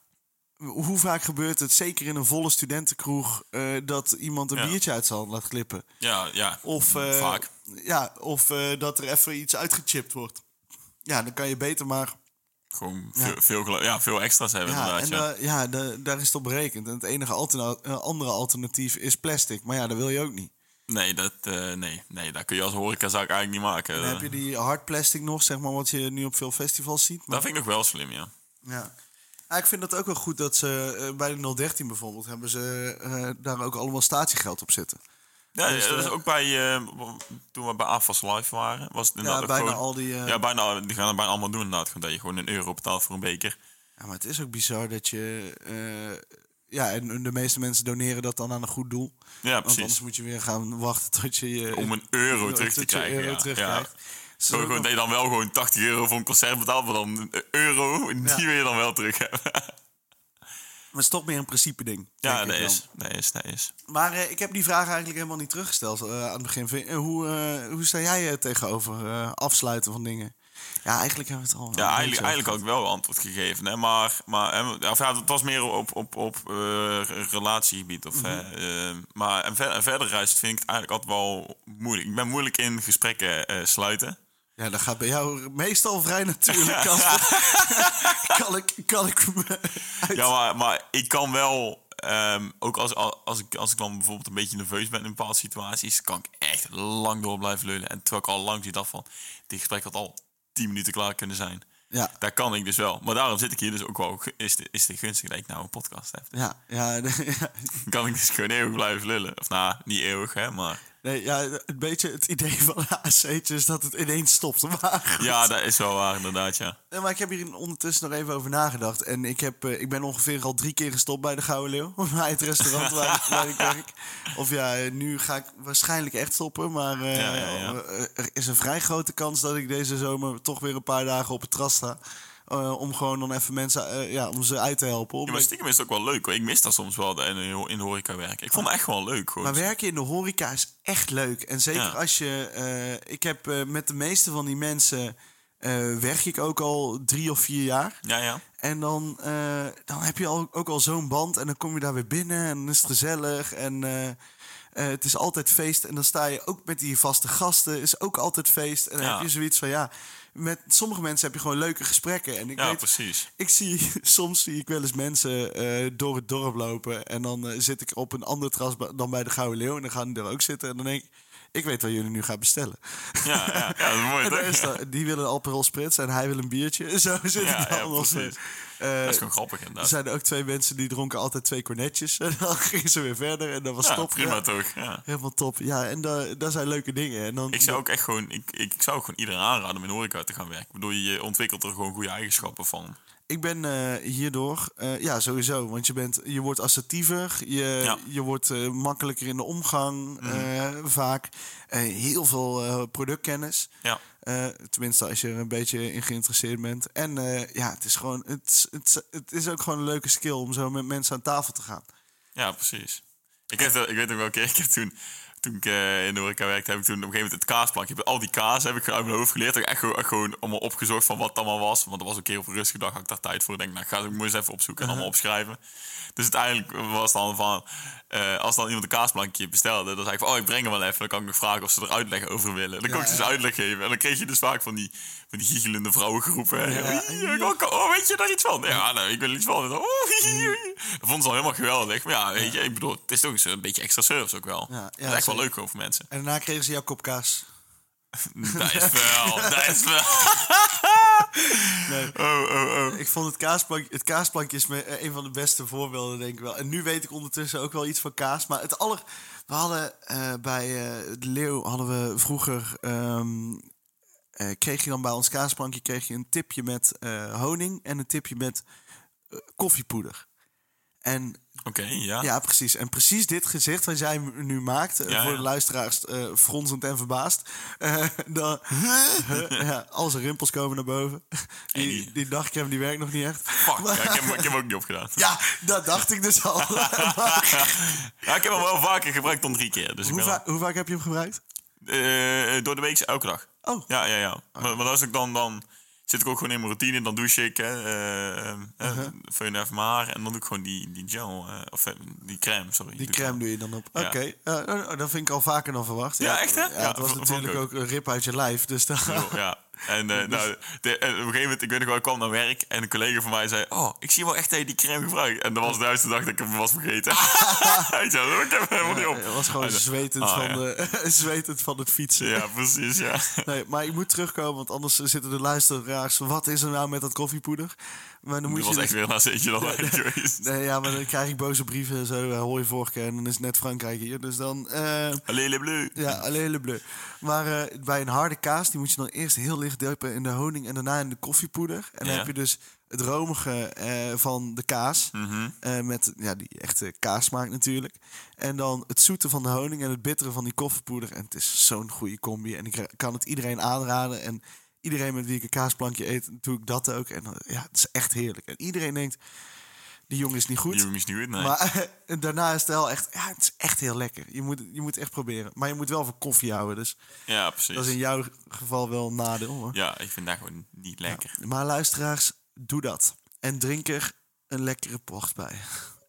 hoe vaak gebeurt het, zeker in een volle studentenkroeg... eh, dat iemand een
Ja.
biertje uit zijn hand laat glippen?
Ja, ja.
Of, eh,
Vaak.
Ja, of eh, dat er even iets uitgechipt wordt. Ja, dan kan je beter maar...
Gewoon veel, veel, gelu- ja, veel extra's hebben
Ja, en
inderdaad. ja.
eh, ja, da- daar is het op berekend. En het enige alterna- eh, andere alternatief is plastic. Maar ja, dat wil je ook niet.
Nee, dat, eh, nee, nee, dat kun je als horecazaak eigenlijk niet maken.
Dan heb je die hard plastic nog, zeg maar, wat je nu op veel festivals ziet. Maar,
Dat vind ik nog wel slim, ja.
ja. Ja, ik vind dat ook wel goed dat ze eh, bij de 013 bijvoorbeeld... hebben ze eh, daar ook allemaal statiegeld op zitten.
Ja,
Dus,
ja, dat is
eh,
ook bij, eh, toen we bij AFAS Live waren, was het inderdaad ook
bijna
gewoon-
al die, eh,
ja, bijna, al- die gaan het bijna allemaal doen inderdaad. Gewoon dat je gewoon een euro betaalt voor een beker.
Ja, maar het is ook bizar dat je... eh, ja, en de meeste mensen doneren dat dan aan een goed doel.
Ja,
Want
precies.
anders moet je weer gaan wachten tot je... je eh,
Om een euro terug te
tot je
krijgen,
euro
ja.
terugkrijgt.
Ja.
Dus dat is
Gewoon,
ook
gewoon dat je dan wel gewoon 80 euro voor een concert betaalt, maar dan een euro, die wil je dan wel terug hebben.
Maar het is toch meer een principe ding.
Ja,
denk
dat
ik dan.
is, dat is, dat is.
Maar eh, ik heb die vraag eigenlijk helemaal niet teruggesteld eh, aan het begin. Vind- eh, hoe, eh, hoe sta jij eh, tegenover eh, afsluiten van dingen? Ja, eigenlijk hebben we het al.
Ja, eigenlijk, eigenlijk had ik wel antwoord gegeven. Hè? Maar, maar hè, of ja, het was meer op, op, op eh, relatiegebied. Of, hè, eh, maar en ver- en verder reist vind ik het eigenlijk altijd wel moeilijk. Ik ben moeilijk in gesprekken eh, sluiten.
Ja, dat gaat bij jou
(laughs)
meestal vrij natuurlijk. Casper. (laughs) kan ik. Kan ik me uit-
Ja, maar, maar ik kan wel... ehm, ook als, al- als, ik, als ik dan bijvoorbeeld een beetje nerveus ben in bepaalde situaties... kan ik echt lang door blijven leunen. En terwijl ik al lang zie dat van... Dit gesprek had al 10 minuten klaar kunnen zijn.
Ja.
Daar kan ik dus wel. Maar daarom zit ik hier dus ook wel... ge- Is het is het gunstig dat ik nou een podcast heb.
ja, ja, (laughs) nee, ja.
kan ik dus gewoon eeuwig blijven lullen. Of nou, niet eeuwig, hè, maar...
Nee, ja, een beetje het idee van een AC'tje is dat het ineens stopt. (laughs) Maar goed.
Ja, dat is wel waar, inderdaad, ja.
Nee, maar ik heb hier ondertussen nog even over nagedacht. En ik, heb, eh, ik ben ongeveer al drie keer gestopt bij de Gouden Leeuw. (laughs) Bij het restaurant waar, waar ik
(laughs)
werk. Of ja, eh, nu ga ik waarschijnlijk echt stoppen. Maar eh,
Ja, ja, ja.
eh, er is een vrij grote kans dat ik deze zomer toch weer een paar dagen op het terras sta. Eh, om gewoon dan even mensen eh, ja, om ze uit te helpen.
Ja,
Om-
maar stiekem is het ook wel leuk, hoor. Ik mis dat soms wel, dat in de, in de horeca werken. Ik vond het echt wel leuk, gewoon.
Maar werken in de horeca is echt leuk. En zeker
Ja.
als je. eh, ik heb eh, met de meeste van die mensen. eh, werk ik ook al drie of vier jaar.
Ja, ja.
En dan, eh, dan heb je al, ook al zo'n band. En dan kom je daar weer binnen en dan is het gezellig. En eh, eh, het is altijd feest. En dan sta je ook met die vaste gasten. Is ook altijd feest. En dan
Ja.
heb je zoiets van ja. Met sommige mensen heb je gewoon leuke gesprekken. En ik
Ja,
weet,
precies.
ik zie (laughs) soms zie ik wel eens mensen eh, door het dorp lopen. En dan eh, zit ik op een ander terras ba- dan bij de Gouden Leeuw. En dan gaan die daar ook zitten. En dan denk ik, ik weet wat jullie nu gaan bestellen.
Ja, ja, ja, dat is (laughs) mooi,
(laughs) En daar
toch?
is dat- die willen een Aperol Spritz en hij wil een biertje. (laughs) Zo zit
Ja,
ik dan.
ja,
allemaal.
precies.
Eh,
Dat is gewoon grappig
er
inderdaad.
zijn ook twee mensen die dronken altijd twee cornetjes. (laughs) En dan gingen ze weer verder en dat was
Ja,
top.
prima
Ja,
toch. Ja.
helemaal top. Ja, en da- daar zijn leuke dingen. En dan,
Ik zou ook echt gewoon, ik, ik zou ook gewoon iedereen aanraden om in de horeca te gaan werken. Ik bedoel, je ontwikkelt er gewoon goede eigenschappen van.
Ik ben eh, hierdoor, eh, ja sowieso, want je, bent, je wordt assertiever, je,
Ja.
je wordt eh, makkelijker in de omgang eh, vaak. Eh, heel veel eh, productkennis,
Ja,
Eh, tenminste als je er een beetje in geïnteresseerd bent. En eh, ja, het is, gewoon, het, is- het, is- het is ook gewoon een leuke skill om zo met mensen aan tafel te gaan.
ja precies. Ik, heb, dat- ik weet nog wel een keer, (laughs) ik heb toen, toen ik eh, in de horeca werkte, heb ik toen op een gegeven moment het kaasplankje. heb- Al die kaas heb ik gewoon uit mijn hoofd geleerd. Ik heb echt gewoon, echt gewoon allemaal opgezocht van wat het allemaal was. Want er was een keer op een rustige dag, had ik daar tijd voor. Ik denk, nou, ik ga het ook maar eens even opzoeken en allemaal opschrijven. Dus uiteindelijk was dan van, eh, als dan iemand een kaasplankje bestelde, dan zei ik van, oh, ik breng hem wel even. Dan kan ik nog vragen of ze er uitleg over willen. Dan kon ik ze dus uitleg geven. En dan kreeg je dus vaak van die, van die giechelende vrouwengroepen. Ja, ik ook, oh, weet je daar iets van? Ja, nou, ik wil er iets van. En dan, oh, (laughs) dat vond ze al helemaal geweldig. Maar ja, weet je, ik bedoel, het is toch eens een beetje extra service ook wel.
ja,
dat is echt wel
zeker.
leuk gewoon voor
(laughs)
mensen.
En daarna kregen ze jouw kop kaas.
dat is wel, dat is wel.
(laughs) Nee.
Oh, oh, oh.
Ik vond het kaasplankje, het kaasplankje is me, eh, een van de beste voorbeelden, denk ik wel. En nu weet ik ondertussen ook wel iets van kaas. Maar het aller... We hadden eh, bij eh, de Leeuw hadden we vroeger... ehm, eh, kreeg je dan bij ons kaasplankje kreeg je een tipje met eh, honing en een tipje met eh, koffiepoeder. En
Oké, ja.
ja, precies. En precies dit gezicht wat jij m- nu maakt, eh,
Ja,
voor
ja.
de luisteraars eh, fronsend en verbaasd. Eh, (laughs) dan, ja, al zijn rimpels komen naar boven. Die,
die-
die dagcreme die werkt nog niet echt.
Fuck, ja, ik, heb, hem- ik heb hem ook niet opgedaan.
(laughs) Ja, dat dacht ik
(laughs)
dus al.
Ja, ik heb hem wel vaker gebruikt dan drie keer. Dus ik
hoe,
ben
va- hoe vaak heb je hem gebruikt?
Eh, door de week, elke dag.
Oh.
Ja, ja, ja. Maar, maar als ik dan, dan zit ik ook gewoon in mijn routine. Dan douche ik, hè. eh, eh,
Uh-huh.
eh, Föhn even mijn haar. En dan doe ik gewoon die, die gel, eh, of eh, die crème, sorry.
Die
Doe ik
crème doe je dan op.
Ja.
Oké, eh, oh, dat vind ik al vaker dan verwacht.
Ja, echt, hè?
Ja,
Ja,
het was
v-
natuurlijk
vond
ook een rip uit je lijf. Dus dan,
dan. Ja. En,
Dus-
eh, nou, de- en op een gegeven moment, ik weet nog wel, ik kwam naar werk. En een collega van mij zei, oh, ik zie wel echt dat je die crème gebruikt. En dat was de juiste dag dat ik hem was
(laughs)
vergeten. ik zei, "Oh, ik heb hem helemaal niet op.
(laughs) het was gewoon
Hij zei,
zwetend,
"Ah,
van
ja.
de, (laughs) zwetend van het fietsen.
eh, Ja, precies, ja.
(laughs) Nee, maar ik moet terugkomen, want anders zitten de luisteraars. Wat is er nou met dat koffiepoeder? Maar dan moet
Dat was
je
echt weer een aceetje dan uit geweest.
Nee, ja, maar dan krijg ik boze brieven en zo. eh, Hooi vorige keer en dan is het net Frankrijk hier. Dus dan. eh,
Allee, le bleu.
ja, alleen le bleu. Maar eh, bij een harde kaas, die moet je dan eerst heel licht duipen in de honing en daarna in de koffiepoeder. En dan
Ja.
heb je dus het romige eh, van de kaas.
Mhm.
eh, met ja, die echte kaasmaak natuurlijk. En dan het zoete van de honing en het bittere van die koffiepoeder. En het is zo'n goede combi. En ik ra- kan het iedereen aanraden. En iedereen met wie ik een kaasplankje eet, doe ik dat ook. En dan- ja, het is echt heerlijk. En iedereen denkt, die jongen is niet goed.
Die jongen is niet goed, nee.
Maar (laughs) daarna is het wel echt, ja, het is echt heel lekker. Je moet, je moet echt proberen. Maar je moet wel van koffie houden. Dus
Ja, precies.
dat is in jouw geval wel een nadeel. Hoor.
Ja, ik vind dat gewoon niet lekker.
Maar luisteraars, doe dat. En drink er een lekkere port bij. (laughs)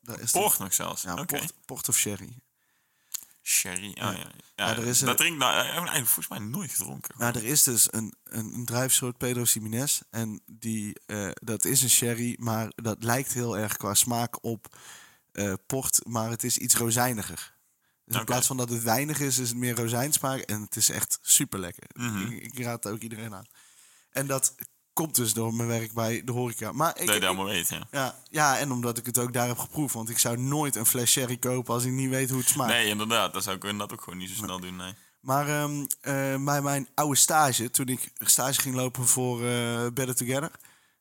Daar is het.
Port nog zelfs.
Ja,
Oké.
port, port of sherry.
Sherry. Ah, ja. Ja,
Ja, er is een-
Dat drink ik nou, ik heb eigenlijk volgens mij nooit gedronken.
Nou, er is dus een, een, een druifsoort Pedro Simines. En die, eh, dat is een sherry, maar dat lijkt heel erg qua smaak op eh, port. Maar het is iets rozijniger. Dus in
Oké.
plaats van dat het weinig is, is het meer rozijnsmaak. En het is echt super lekker. ik, ik raad het ook iedereen aan. En dat komt dus door mijn werk bij de horeca. Maar ik,
dat je
ik-
dat allemaal weet, ja.
ja, ja, en omdat ik het ook daar heb geproefd. Want ik zou nooit een fles sherry kopen als ik niet weet hoe het smaakt.
Nee, inderdaad. Dat zou ik inderdaad ook gewoon niet zo snel doen, nee.
Maar ehm, eh, bij mijn oude stage, toen ik stage ging lopen voor eh, Better Together.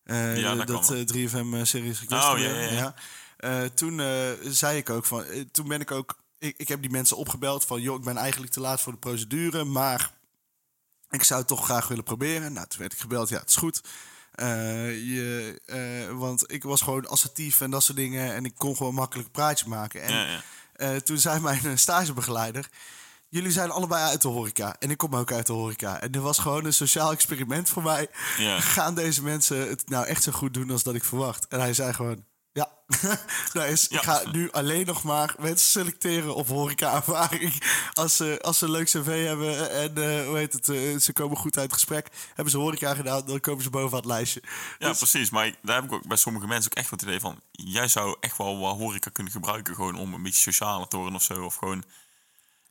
eh,
Ja, dat
dat
kan
eh, 3FM eh, series request.
Oh,
gebeuren,
ja, ja, ja.
Eh, toen eh, zei ik ook van, eh, toen ben ik ook, ik, ik heb die mensen opgebeld van, joh, ik ben eigenlijk te laat voor de procedure, maar ik zou het toch graag willen proberen. Nou, toen werd ik gebeld, ja, het is goed. Eh, je, eh, want ik was gewoon assertief en dat soort dingen. En ik kon gewoon makkelijk een praatje maken. En
Ja, ja.
eh, toen zei mijn eh, stagebegeleider... Jullie zijn allebei uit de horeca. En ik kom ook uit de horeca. En dit was gewoon een sociaal experiment voor mij.
Ja.
(laughs) Gaan deze mensen het nou echt zo goed doen als dat ik verwacht? En hij zei gewoon... Ja, (laughs) nou is,
Ja.
ik ga nu alleen nog maar mensen selecteren op horeca-ervaring. Als ze, als ze een leuk cv hebben en eh, hoe heet het, eh, ze komen goed uit het gesprek. Hebben ze horeca gedaan, dan komen ze bovenaan het lijstje.
Ja,
Dus-
precies. Maar ik- daar heb ik ook bij sommige mensen ook echt wat idee van. Jij zou echt wel wat horeca kunnen gebruiken. Gewoon om een beetje socialer te worden of zo. Of gewoon.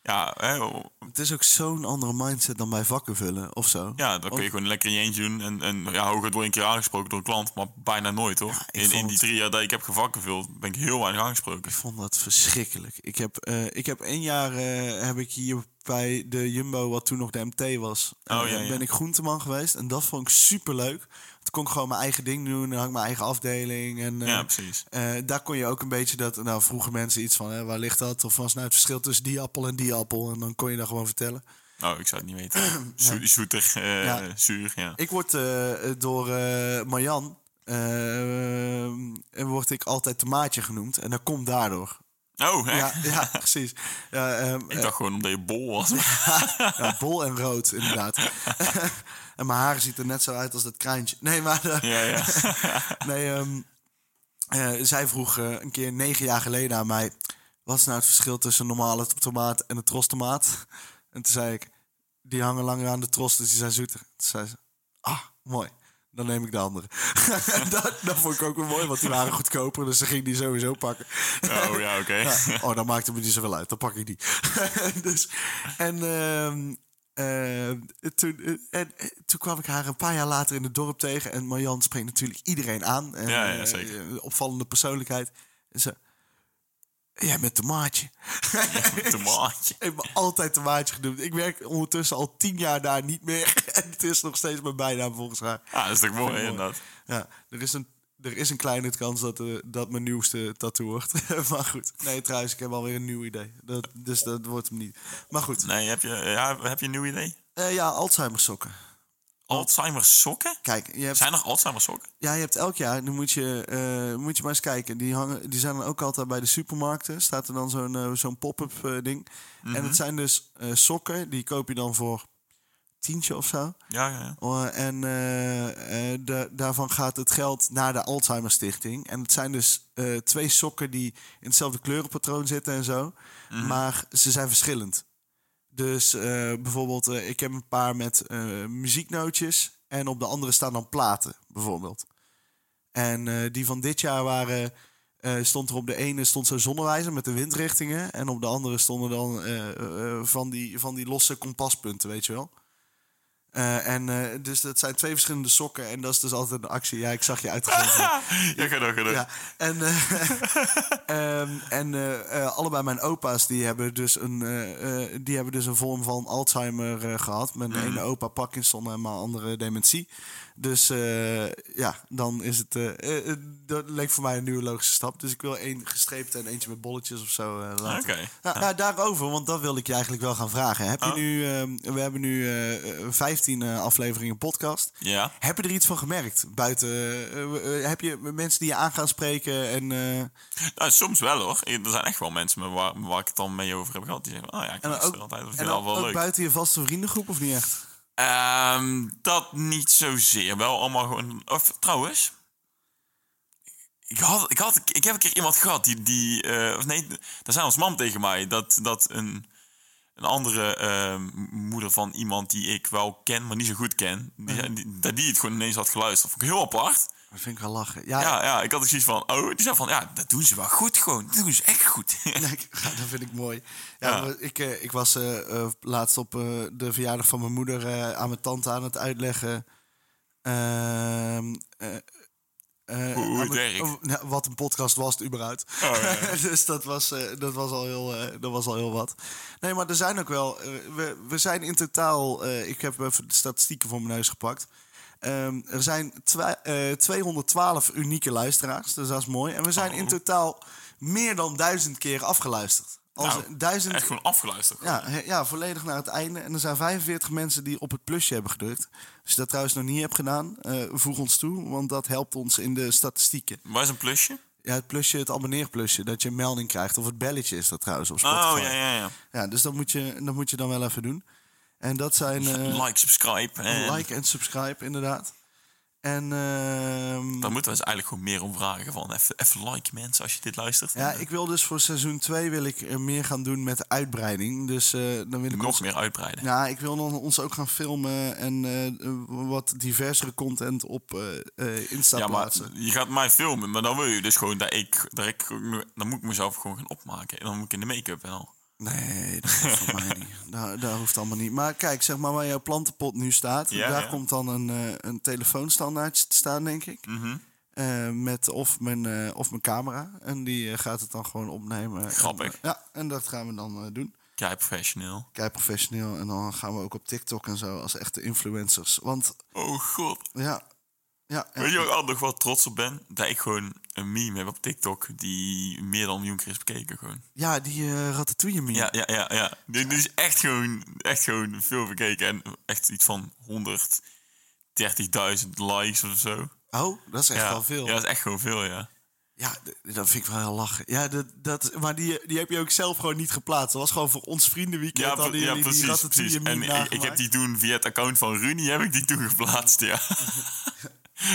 Ja, hè, o-
Het is ook zo'n andere mindset dan bij vakken vullen of zo.
ja dan kun je gewoon lekker in je eentje doen. En, en ja, hooguit word je een keer aangesproken door een klant. Maar bijna nooit hoor. in,
ik vond
in die
het-
drie jaar dat ik heb gevakken gevuld, ben ik heel weinig aangesproken.
Ik vond dat verschrikkelijk. Ik heb, eh, ik heb één jaar eh, heb ik hier bij de Jumbo, wat toen nog de MT was, eh,
Oh, ja, ja.
ben ik groenteman geweest. En dat vond ik superleuk. Toen kon ik gewoon mijn eigen ding doen. Dan had ik mijn eigen afdeling. En, eh,
Ja, precies.
eh, daar kon je ook een beetje dat... Nou, vroegen mensen iets van, hè, waar ligt dat? Of was nou het verschil tussen die appel en die appel? En dan kon je dat gewoon vertellen.
Nou, ik zou het niet weten. Zo- Zoeter, eh,
Ja.
zuur, ja.
Ik word eh, eh, door eh, Marjan... eh, en word ik altijd de maatje genoemd. En dat komt daardoor.
Oh, hè?
Ja, ja precies. Ja, ehm,
Ik dacht gewoon omdat je bol was.
(laughs) Ja, bol en rood, inderdaad. (laughs) en mijn haar ziet er net zo uit als dat kraantje. Nee, maar... eh,
(laughs) ja, ja.
nee, ehm, eh, zij vroeg eh, een keer negen jaar geleden aan mij... Wat is nou het verschil tussen een normale t- tomaat en een trostomaat? En toen zei ik... Die hangen langer aan de tros, dus die zijn zoeter. Toen zei ze... Ah, mooi. Dan neem ik de andere. (laughs) dat, dat vond ik ook wel mooi, want die waren goedkoper. Dus ze ging die sowieso pakken.
Oh ja, oké.
Ja, oh, dan maakt het me niet zoveel uit. Dan pak ik die. (laughs) dus, en ehm, ehm, toen, eh, en, eh, toen kwam ik haar een paar jaar later in het dorp tegen. En Marjan spreekt natuurlijk iedereen aan. En,
Ja, ja,
eh,
zeker.
een opvallende persoonlijkheid. En ze... Jij bent de
(laughs)
maatje.
Te maatje.
Ik heb me altijd de maatje genoemd. Ik werk ondertussen al tien jaar daar niet meer. (laughs) En het is nog steeds mijn bijnaam volgens haar.
Ja, dat is toch mooi,
Mooi.
inderdaad.
Ja, er is een, er is een kleine kans dat, eh, dat mijn nieuwste tattoo wordt. (laughs) maar goed. Nee, trouwens, ik heb alweer een nieuw idee. Dat, dus dat wordt hem niet. Maar goed.
Nee, heb je, ja, heb je een nieuw idee?
Eh, ja, Alzheimer sokken. Oh.
Alzheimer sokken?
Kijk, je hebt,
Zijn er Alzheimer sokken?
ja, je hebt elk jaar, dan moet je, eh, moet je maar eens kijken. Die, hangen, die zijn dan ook altijd bij de supermarkten. Staat er dan zo'n eh, zo'n pop-up eh, ding. En het zijn dus eh, sokken, die koop je dan voor tientje of zo.
Ja,
(laughs)
ja, ja.
Oh, en eh, eh, da- daarvan gaat het geld naar de Alzheimer Stichting. En het zijn dus eh, twee sokken die in hetzelfde kleurenpatroon zitten en zo. Maar ze zijn verschillend. Dus eh, bijvoorbeeld, eh, ik heb een paar met eh, muzieknootjes. En op de andere staan dan platen, bijvoorbeeld. En eh, die van dit jaar waren. eh, stond er op de ene stond zo'n zonnewijzer met de windrichtingen. En op de andere stonden dan eh, eh, van, die, van die losse kompaspunten, weet je wel. Eh, en eh, dus dat zijn twee verschillende sokken. En dat is dus altijd een actie. Ja, ik zag je uitgegeven.
Ja, ga door, ga door.
Ja, en, eh, (laughs) ehm, en eh, eh, allebei mijn opa's die hebben dus een, eh, eh, die hebben dus een vorm van Alzheimer eh, gehad. Mijn
Mhm.
ene opa Parkinson en mijn andere dementie. Dus eh, ja, dan is het. eh, eh, eh, dat leek voor mij een nieuwe logische stap. Dus ik wil één gestreept en eentje met bolletjes of zo eh, laten.
Oké.
Nou, nou, daarover, want dat wilde ik je eigenlijk wel gaan vragen. Heb je
Oh.
nu, eh, we hebben nu eh, eh, 15 eh, afleveringen podcast.
Ja.
Heb je er iets van gemerkt? Buiten, eh, eh, heb je mensen die je aan gaan spreken? En, eh,
Nou, soms wel hoor. Er zijn echt wel mensen met waar, waar ik het dan mee over heb gehad. Die zeggen, oh ja, ik
en
luister
ook,
altijd. Dat vind
en
ik
dan
wel
ook
leuk.
buiten je vaste vriendengroep of niet echt?
Ehm, dat niet zozeer. Wel allemaal gewoon... Of, trouwens... Ik, had, ik, had, ik heb een keer iemand gehad die... die eh, of nee, daar zei ons mam tegen mij dat, dat een, een andere eh, moeder van iemand die ik wel ken, maar niet zo goed ken... Die,
Mhm.
zei- die- dat die het gewoon ineens had geluisterd. Vond ik heel apart.
Dat vind ik wel lachen. Ah, Ja,
Ja, ja, ik had ook zoiets van... Oh, die zei van... Ja, dat doen ze wel goed gewoon. Dat doen ze echt goed. (laughs)
Ja, (laughs) ik- ja, dat vind ik mooi. Ja,
Ja.
maar Ik, eh, ik was eh, eh, laatst op eh, de verjaardag van mijn moeder eh, aan mijn tante aan het uitleggen. ehm, eh, eh, aan mijn-
het werkt.
oh, nou, wat een podcast was het überhaupt.
Oh,
(laughs) dus dat was, eh, dat, was al heel, eh, dat was al heel wat. Nee, maar er zijn ook wel... eh, we, we zijn in totaal... eh, ik heb even de statistieken voor mijn neus gepakt. Ehm, er zijn twa- eh, 212 unieke luisteraars, dus dat is mooi. En we zijn
Oh.
in totaal meer dan duizend keer afgeluisterd. Als
Nou,
duizend,
Echt gewoon afgeluisterd.
ja, he- ja, volledig naar het einde. En er zijn 45 mensen die op het plusje hebben gedrukt. Als je dat trouwens nog niet hebt gedaan, eh, voeg ons toe, want dat helpt ons in de statistieken.
Waar is een plusje?
Ja, het plusje, het abonneerplusje, dat je een melding krijgt. Of het belletje is dat trouwens op Spotify.
Oh, ja, ja, ja.
Ja, dus dat moet, je, dat moet je dan wel even doen. En dat
(laughs)
zijn eh,
Like, subscribe. En
like en subscribe, inderdaad. En ehm,
Daar moeten we eens eigenlijk gewoon meer om vragen. Van even, even like mensen als je dit luistert.
ja,
En,
ik wil dus voor seizoen 2 wil ik eh, meer gaan doen met de uitbreiding. Dus eh, dan wil ik
eh, nog
ons-
meer uitbreiden.
Ja, ik wil dan ons ook gaan filmen en eh, wat diversere content op eh, eh, Insta
Ja, maar
plaatsen.
je gaat mij filmen, maar dan wil je dus gewoon dat ik, dat ik dan moet ik mezelf gewoon gaan opmaken. En dan moet ik in de make-up en al.
Nee, dat hoeft van
(laughs)
mij niet. Dat, dat hoeft allemaal niet. Maar kijk, zeg maar waar jouw plantenpot nu staat.
Ja,
daar
ja.
komt dan een, eh, een telefoonstandaardje te staan, denk ik.
Mhm.
Eh, met of mijn, eh, of mijn camera. En die eh, gaat het dan gewoon opnemen.
Grappig.
En, eh, ja, en dat gaan we dan eh, doen.
Kei professioneel.
Kijk, professioneel. En dan gaan we ook op TikTok en zo als echte influencers. Want
Oh god.
ja... Ja, eh, ja.
Weet je waar ik altijd nog wel trots op ben? Dat ik gewoon een meme heb op TikTok die meer dan een miljoen keer is bekeken gewoon.
ja die eh, ratatouille meme.
Ja, ja, ja, ja. Dit, dit is echt gewoon, echt gewoon veel bekeken. En echt iets van 130.000 likes of zo.
Oh, dat is echt
ja.
wel veel.
Ja, dat is echt gewoon veel, ja.
Ja, d- dat vind ik wel heel lachen. Ja, dat, dat, maar die, die heb je ook zelf gewoon niet geplaatst. Dat was gewoon voor ons vriendenweekend.
Ja,
hadden
pre- ja,
jullie die
precies,
ratatouille
precies. En
meme
ik, ik heb
nagemaakt.
die toen via het account van Runi heb ik die toen geplaatst,
(laughs)
ja.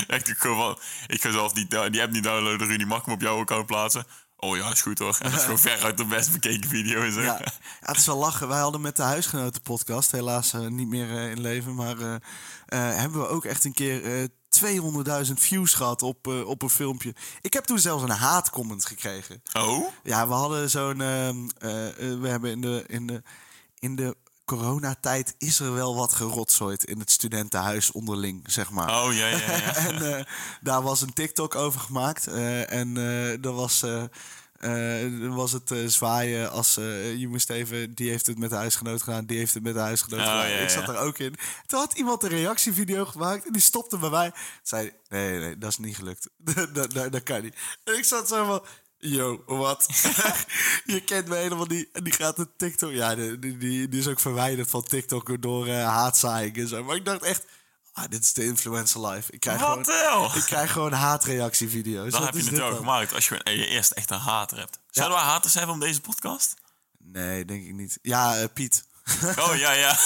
Echt, ik gewoon, ik ga zelf die, die app niet downloaden, Runi, mag ik hem op jouw account plaatsen? Oh ja, is goed
(laughs)
hoor. En dat is gewoon veruit de best bekeken video. Is
Ja. Ja, het is wel lachen. Wij hadden met de huisgenotenpodcast, helaas eh, niet meer eh, in leven, maar eh, eh, hebben we ook echt een keer eh 200.000 views gehad op, eh, op een filmpje. Ik heb toen zelfs een haatcomment gekregen.
Oh?
Ja, we hadden zo'n. ehm, eh, eh, we hebben in de, in de, in de coronatijd is er wel wat gerotzooid in het studentenhuis onderling, zeg maar.
Oh ja, ja, ja.
(laughs) en
(laughs)
eh, daar was een TikTok over gemaakt. Eh, en eh er was, eh, eh, er was het eh, zwaaien als eh, je moest even... Die heeft het met de huisgenoot gedaan, die heeft het met de huisgenoot
Oh,
gedaan.
ja,
ik zat
ja.
daar ook in. Toen had iemand een reactievideo gemaakt en die stopte bij mij. Zei, nee, nee, dat is niet gelukt. (laughs) dat, dat, dat, dat kan niet. En ik zat zo van... Yo,
(laughs)
wat? (laughs) je kent me helemaal niet. En die gaat een TikTok... Ja, die, die, die die is ook verwijderd van TikTok door eh haatzaaiing en zo. Maar ik dacht echt... Ah, dit is de influencer life. Ik krijg
Wat de
gewoon,
hel?
ik krijg gewoon haatreactievideo's.
Dan
Wat
heb je
is
het
dit
wel
dan?
gemaakt als je, gewoon- en je eerst echt een hater hebt. Zouden we haters hebben om deze podcast?
Nee, denk ik niet. Ja, eh, Piet. (laughs)
Oh ja, ja. (laughs)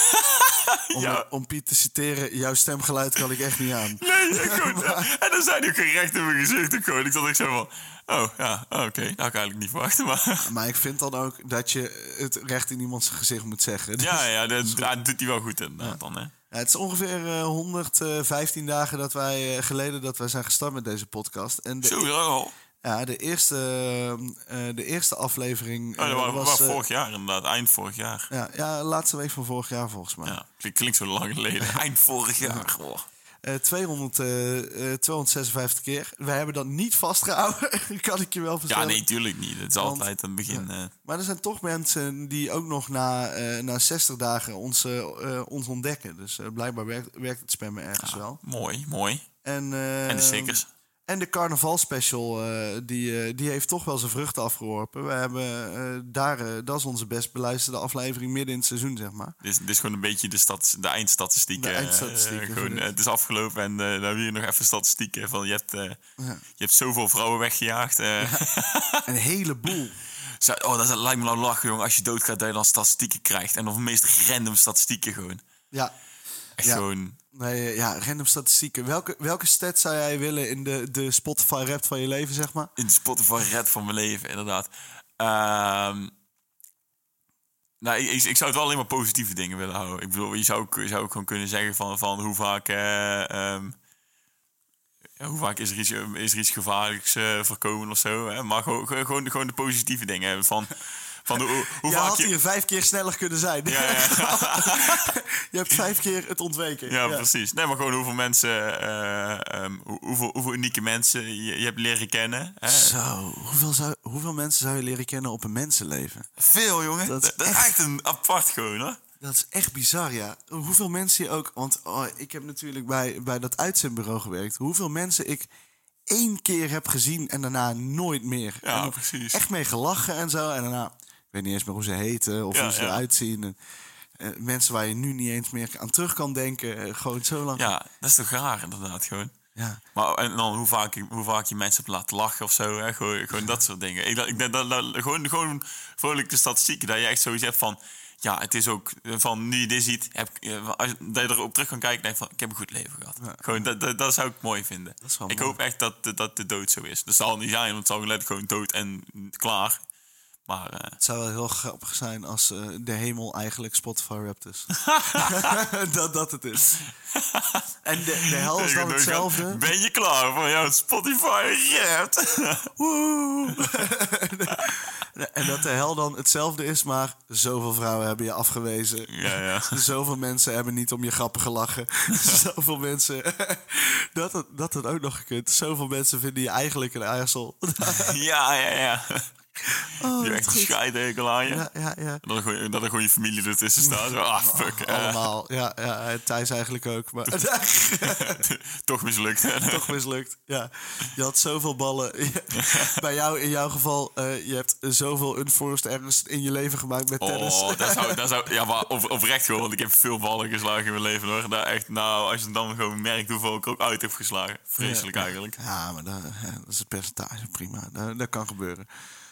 Om,
ja.
om Piet te citeren, jouw stemgeluid kan ik echt niet aan.
(laughs) Nee, ja, goed. En dan zijn die ook gerecht in mijn gezicht. ook Gewoon. Ik zat echt zo van... Oh, ja, oké. Nou, kan ik eigenlijk niet verwachten, maar...
Maar ik vind dan ook dat je het recht in iemands gezicht moet zeggen. Dus-
Ja, ja, dat, dat doet hij wel goed inderdaad dan, hè.
Ja, (laughs) het is ongeveer eh, 115 dagen dat wij, eh, geleden dat wij zijn gestart met deze podcast. En de,
Zo, ja, al. Oh,
ja, de, eerste, eh, eh, de eerste aflevering
Oh, dat
eh,
was, was
eh,
vorig jaar inderdaad. Eind vorig jaar.
ja, ja, laatste week van vorig jaar volgens mij.
Ja, klink- klinkt zo lang
(laughs)
geleden. Eind vorig jaar, goh.
Eh, 200, eh, eh, 256 keer. Wij hebben dat niet vastgehouden, (laughs) kan ik je wel
Ja,
vertellen.
nee, tuurlijk niet. Het is altijd aan het begin... eh,
Maar er zijn toch mensen die ook nog na, eh, na 60 dagen ons, eh, eh, ons ontdekken. Dus eh, blijkbaar werkt, werkt het spammen ergens wel.
mooi, mooi.
En, eh,
En de stickers.
En de carnavalspecial, eh, die, eh, die heeft toch wel zijn vruchten afgeworpen. We hebben eh, daar, eh, dat is onze best beluisterde aflevering midden in het seizoen, zeg maar.
Dit is, dit is gewoon een beetje de, stats, de eindstatistieken.
De
eh,
eindstatistieken,
eh, gewoon,
inderdaad.
eh, het is afgelopen en eh, dan hebben we hier nog even statistieken. Van, je, hebt, eh, je hebt zoveel vrouwen weggejaagd. eh.
Een heleboel.
(laughs) Zo- oh, dat lijkt me nou lachen, jongen. Als je doodgaat, dat je dan statistieken krijgt. En dan de meest random statistieken gewoon.
Ja,
Echt
Ja.
gewoon...
nee, eh, ja random statistieken. Welke, welke stat zou jij willen in de, de Spotify-rap van je leven, zeg maar?
in de Spotify red van mijn leven, inderdaad. Ehm, nou, ik, ik, ik zou het wel alleen maar positieve dingen willen houden. Ik bedoel, je zou, ook- je zou ook gewoon kunnen zeggen van, van hoe vaak... eh, ehm, ja, hoe vaak is er iets, is er iets gevaarlijks eh, voorkomen of zo. Hè? Maar gewoon, gewoon, gewoon de- gewoon de positieve dingen hebben. Van, van de, hoe, hoe
(laughs) Je
vaak
had
je...
hier vijf keer sneller kunnen zijn.
Ja, ja, ja.
(laughs) Je hebt vijf keer het ontweken.
Ja, precies. Nee, maar gewoon hoeveel mensen, eh, ehm, hoe- hoeveel, hoeveel unieke mensen je, je hebt leren kennen. Hè?
Zo, hoeveel, zou, hoeveel mensen zou je leren kennen op een mensenleven?
Veel, jongen.
Dat
Dat,
is
dat is
echt-
echt een apart gewoon, hè?
Dat is echt bizar, ja. Hoeveel mensen je ook... Want oh, ik heb natuurlijk bij, bij dat uitzendbureau gewerkt. Hoeveel mensen ik één keer heb gezien en daarna nooit meer.
Ja,
En dan
precies.
Echt mee gelachen en zo. En daarna, ik weet niet eens meer hoe ze heten of
Ja,
hoe ze
ja.
eruit zien. En, eh, mensen waar je nu niet eens meer aan terug kan denken. Eh, gewoon zo lang.
Ja, dat is toch raar inderdaad gewoon.
Ja.
Maar en dan hoe vaak, je- hoe vaak je mensen hebt laten lachen of zo. Hè? Gewoon, gewoon dat soort dingen. Ik, dacht- ik denk dat, dat- gewoon, gewoon vrolijk de statistieken. Dat je echt zoiets hebt van... Ja, het is ook eh, van nu je dit ziet, heb, ik, eh, als, dat je erop terug kan kijken en denkt van ik heb een goed leven gehad. Gewoon, dat, dat, dat zou ik mooi vinden.
is wel
ik
mooi.
hoop echt dat, de- dat de dood zo is. Dat zal niet zijn, want het zal letterlijk gewoon dood en klaar. Maar eh,
Het zou wel heel grappig zijn als eh, de hemel eigenlijk Spotify rapt is.
(laughs)
(laughs) dat dat het is. En de, de hel is
(laughs) Ik
dan
bedoel,
hetzelfde.
Ben je klaar voor jouw Spotify rapt?
Woe! (laughs) en dat de hel dan hetzelfde is, maar zoveel vrouwen hebben je afgewezen.
(laughs) ja, ja. (laughs)
Zoveel mensen hebben niet om je grappen gelachen. (laughs) Zoveel mensen. (laughs) dat, het, dat het ook nog gekund. Zoveel mensen vinden je eigenlijk een aarzel. (laughs)
Ja, ja, ja. je
Oh, dat
hebt echt
is
een
goed.
scheidhekel aan je.
Ja, Oh, ja, ja.
Dat, er gewoon, dat er gewoon je familie ertussen
(laughs)
staat. Zo, ah, fuck. eh,
Allemaal. Ja, ja, en Thijs eigenlijk ook.
(laughs)
Maar (laughs)
Eh, Toch mislukt.
toch mislukt. Ja. Je had zoveel ballen. (laughs) Ja. Bij jou, in jouw geval, eh, je hebt zoveel unforced ergens in je leven gemaakt met tennis.
Oh, dat
(laughs)
zou, dat zou, ja, maar op, oprecht gewoon, want ik heb veel ballen geslagen in mijn leven hoor. Nou, echt, nou, als je dan gewoon merkt hoeveel ik ook uit heb geslagen. Vreselijk
Ja.
eigenlijk.
Ja, maar dat, eh, dat is het percentage. Prima. Dat, dat kan gebeuren.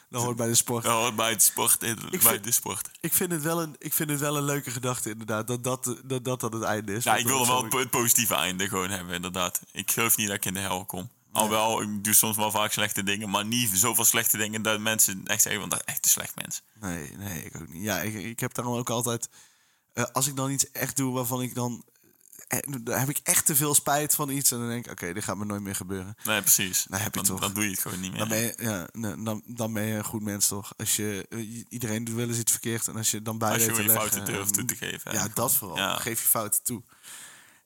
Dat hoort bij de sport.
Ja, hoort bij het sport. eh, bij
vind-
de sport.
Ik, vind het wel een, ik vind het wel een leuke gedachte, inderdaad. Dat dat, dat, dat, dat het einde is.
Ja,
Dat
ik wilde
dat
wel
zo-
het po- het positieve einde gewoon hebben, inderdaad. Ik geloof niet dat ik in de hel kom. Alhoewel, ik doe soms wel vaak slechte dingen, maar niet zoveel slechte dingen dat mensen echt zeggen, want dat is echt een slecht mens.
Nee, nee, ik ook niet. Ja, ik, ik heb daarom ook altijd... eh, als ik dan iets echt doe waarvan ik dan... eh, dan heb ik echt te veel spijt van iets. En dan denk ik, oké, dit gaat me nooit meer gebeuren.
Nee, precies.
Nou, heb je
dan,
toch.
dan doe je het gewoon niet meer.
Dan ben, je, ja, nee, dan, dan ben je een goed mens, toch? Als je, eh, i- iedereen doet wel eens iets verkeerd. En als je dan bij
Als je
weet te
gewoon je
leggen,
fouten durft toe te geven,
Ja,
eigenlijk.
dat vooral.
Ja.
Geef je fouten toe.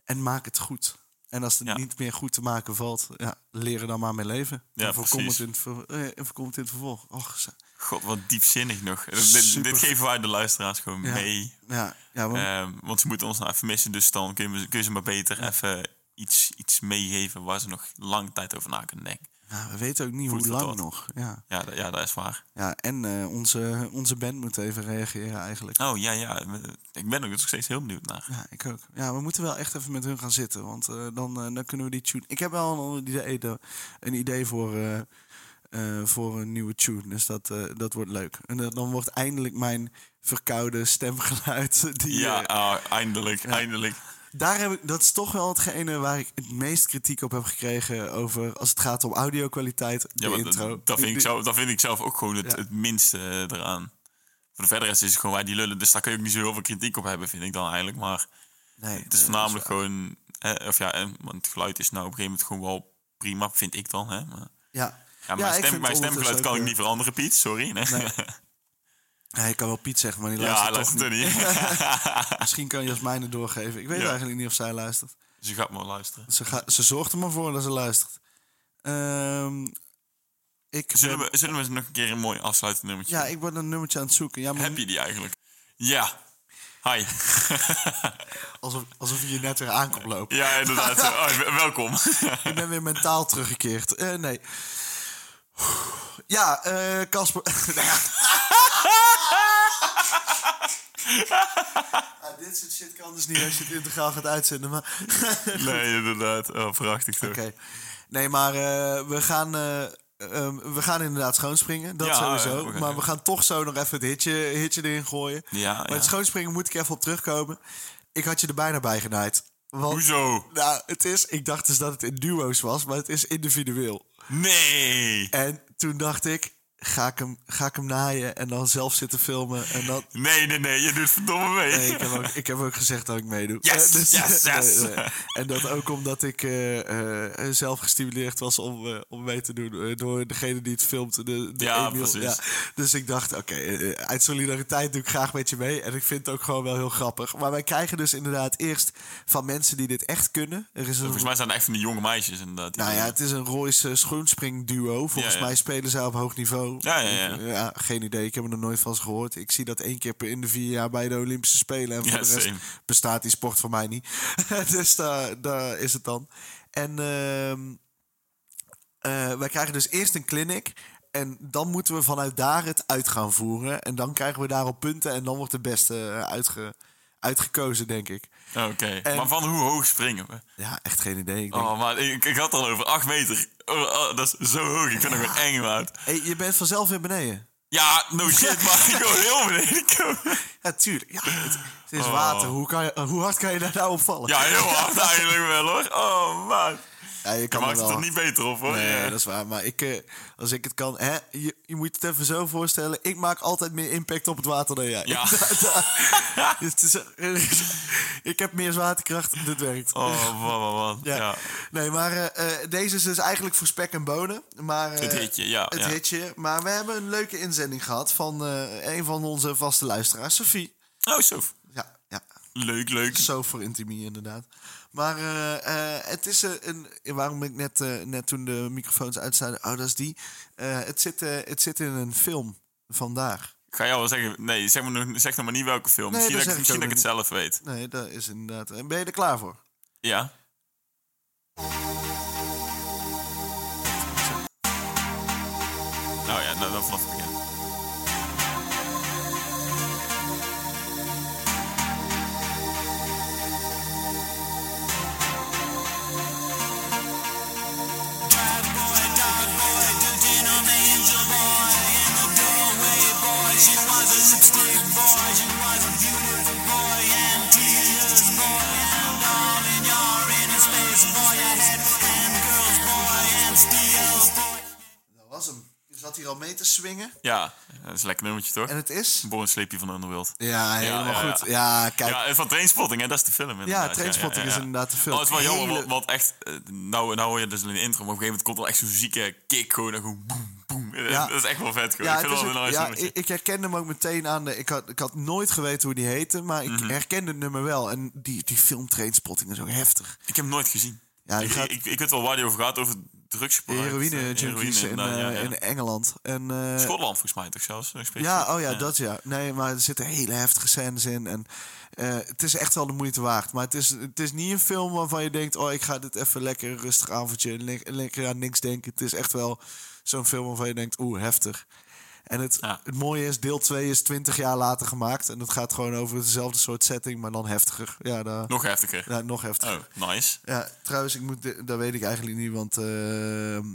En maak het goed. En als het
Ja.
niet meer goed te maken valt, ja, leer er dan maar mee leven.
Ja,
en voorkom het,
precies.
in het ver- eh, en voorkom het in het vervolg. Och, ze-
God, wat diepzinnig nog. Dit,
Super.
dit geven wij de luisteraars gewoon
ja. Oh.
mee.
Ja, ja, want-
Ehm, want ze moeten ons nou even missen, dus dan kun je, kun je ze maar beter even iets, iets meegeven waar ze nog lang tijd over na kunnen denken.
ja, nou, we weten ook niet
voelt
hoe
het
lang
wat.
nog. Ja,
Ja, dat- ja dat is waar.
ja en eh, onze, onze band moet even reageren eigenlijk.
Oh ja, ja. Ik ben er nog steeds heel benieuwd naar.
Ja, ik ook. Ja, we moeten wel echt even met hun gaan zitten. Want eh, dan, eh, dan kunnen we die tune. Ik heb wel een, ander idee, de- een idee voor, eh, eh, voor een nieuwe tune. Dus dat, eh, dat wordt leuk. En dat- dan wordt eindelijk mijn verkoude stemgeluid. (laughs) Die,
Ja,
eh,
ah, eindelijk, eindelijk.
daar heb ik, dat is toch wel hetgene waar ik het meest kritiek op heb gekregen. Over als het gaat om audio-kwaliteit. De
Ja, want
intro.
dat, dat vind ik
Die-
zelf, dat vind ik zelf ook gewoon het,
Ja.
het minste eh, eraan. Voor de verder rest is het gewoon wij die lullen, dus daar kun je ook niet zo heel veel kritiek op hebben, vind ik dan eigenlijk. Maar
Nee,
het is voornamelijk
Dus,
gewoon, eh, of ja, eh, want het geluid is nou op een gegeven moment gewoon wel prima, vind ik dan. Hè? Maar,
Ja.
ja,
Ja, ik
mijn,
vind
stem,
het
mijn stemgeluid
ondertussen
kan
ook,
ik
eh,
niet veranderen, Piet, sorry. (laughs) Nee.
Ja, ik kan wel Piet zeggen, maar die
ja, hij
luistert toch
luistert er
niet.
niet.
(laughs) Misschien kan Jasmijn het doorgeven. Ik weet
Ja.
eigenlijk niet of zij luistert.
Ze Dus gaat maar luisteren.
Ze, ga- ze zorgt er maar voor dat ze luistert. Ehm, ik
Zullen
ben-
we, zullen we nog een keer een mooi afsluitend nummertje
Ja, ik ben een nummertje aan het zoeken. Ja, maar
Heb je die eigenlijk? Ja. Hi.
alsof, alsof je je net weer aankomt lopen.
Ja, inderdaad.
(laughs)
Oh, welkom.
Ik ben weer mentaal teruggekeerd. Eh, nee. Ja, eh, Casper. (laughs) Nou
(laughs)
ja. Ah, dit soort shit kan dus niet als je het integraal gaat uitzenden. Maar (laughs)
Nee, inderdaad. Oh, prachtig toch?
Oké. Nee, maar eh, we gaan. eh, ehm, we gaan inderdaad schoonspringen, dat
Ja,
sowieso.
ja, we gaan-
maar we gaan toch zo nog even het hitje, hitje erin gooien.
Ja,
maar
ja.
het schoonspringen moet ik even op terugkomen. Ik had je er bijna bij genaaid. Want,
Hoezo?
Nou, het is, ik dacht dus dat het in duo's was, maar het is individueel.
Nee.
En toen dacht ik, ga ik hem, ga ik hem naaien en dan zelf zitten filmen. En dan,
Nee, nee, nee. Je doet verdomme mee.
Nee, ik, heb ook, ik heb ook gezegd dat ik meedoe.
Yes,
Eh,
yes, yes.
En dat ook omdat ik eh, eh, zelf gestimuleerd was om, eh, om mee te doen eh, door degene die het filmt. De, de
Ja,
Emiel.
precies.
Dus ik dacht, oké, eh, uit solidariteit doe ik graag met je mee. En ik vind het ook gewoon wel heel grappig. Maar wij krijgen dus inderdaad eerst van mensen die dit echt kunnen. Er is een
Volgens mij zijn het echt van die jonge meisjes inderdaad. die
nou ja,
doen.
het is een Royce eh, schoenspringduo. Volgens
Ja, ja.
mij spelen zij op hoog niveau.
Ja, ja, ja.
Ik- geen idee. Ik heb er nog nooit van ze gehoord. Ik zie dat één keer per in de vier jaar bij de Olympische Spelen. En voor
Ja,
de rest
same.
bestaat die sport voor mij niet. (laughs) dus daar, daar is het dan. En ehm, eh, wij krijgen dus eerst een clinic. En dan moeten we vanuit daar het uit gaan voeren. En dan krijgen we daarop punten. En dan wordt de beste eh, uitge, uitgekozen, denk ik.
Oké, maar van hoe hoog springen we?
Ja, echt geen idee. Ik denk,
Oh, maar ik, ik had al over 8 meter. Oh, oh, dat is zo hoog. Ik vind het weer eng, maat.
hey, je bent vanzelf weer beneden.
Ja, no
(laughs)
shit, maar ik wil heel beneden komen.
Ja, tuurlijk. Ja, het, het is water. Hoe, kan je, eh, hoe hard kan je daar nou op vallen?
Oh. Ja, heel hard eigenlijk wel, hoor. Oh, man.
Ja, je
Je
kan er
maakt het
wel-
er niet beter op, hoor.
Nee,
Ja.
dat is waar. Maar ik, eh, als ik het kan... Hè, je, je moet het even zo voorstellen. Ik maak altijd meer impact op het water dan jij. (laughs)
Ja.
Dus het is, eh, (laughs) ik heb meer zwaartekracht. Dit werkt.
Oh, man, man, man.
Ja.
Ja.
Nee, maar eh, eh, deze is dus eigenlijk voor spek en bonen. Maar, eh,
Het hitje, ja,
Het
ja.
hitje. Maar we hebben een leuke inzending gehad van eh, een van onze vaste luisteraars, Sophie.
Oh, zo.
Ja, ja.
Leuk, leuk.
(laughs) Zo voor intimie, inderdaad. Maar eh, eh, het is eh, een... Waarom ik net, eh, net toen de microfoons uitzeiden... Oh, dat is die. Eh, het, zit, eh, het zit in een film vandaag.
Ik ga jou wel zeggen... Nee, zeg, maar, nog- zeg nog maar niet welke film.
Nee,
misschien
dat
dat, ik,
zeg ik
misschien dat ik het
ook
zelf weet.
Nee, dat is inderdaad... En ben je er klaar voor?
Ja. Nou ja, nou, dan vanaf het begin.
Dat was hem. Je zat hier al mee te swingen.
Ja, dat is een lekker nummertje, toch?
En het is...
Born Sleepy van de Underworld.
Ja, helemaal
ja, ja.
goed. Ja, kijk.
Ja, en van Trainspotting, hè? Dat is de film inderdaad.
Trainspotting is inderdaad de film.
Oh, het is wel jammer,
Hele-
want, want echt... eh, Nou, nou hoor je dus in de intro, maar op een gegeven moment komt er echt zo'n zieke kick gewoon. En gewoon boem, boem. (laughs)
Ja.
Dat is echt wel vet, gewoon.
Ja,
ik vind
het
het
is
wel een
ook-
nice
ja,
nummertje.
ik, ik herkende hem ook meteen aan. De, ik, had, ik had nooit geweten hoe die heette, maar
Mhm.
ik herkende het nummer wel. En die, die film Trainspotting is ook heftig.
Ik heb hem nooit gezien.
Ja,
ik,
je gaat-
ik, ik weet wel waar die over gaat, over drugsgebruik.
Heroïne
Eh,
junkies in,
inderdaad, ja,
eh,
ja.
in Engeland. En, eh,
Schotland volgens mij toch zelfs? eh, specifiek.
ja, oh ja, dat ja. Nee, maar er zitten hele heftige scènes in. En eh, het is echt wel de moeite waard. Maar het is, het is niet een film waarvan je denkt: oh, ik ga dit even lekker een rustig avondje. en le- lekker aan niks denken. Het is echt wel zo'n film waarvan je denkt: oeh, heftig. En het,
Ja.
het mooie is, deel 2 is 20 jaar later gemaakt. En het gaat gewoon over hetzelfde soort setting, maar dan heftiger. Ja, daar,
Nog heftiger.
ja, nog heftiger.
Oh, nice.
Ja, trouwens, ik moet, de- dat weet ik eigenlijk niet, want eh,
Je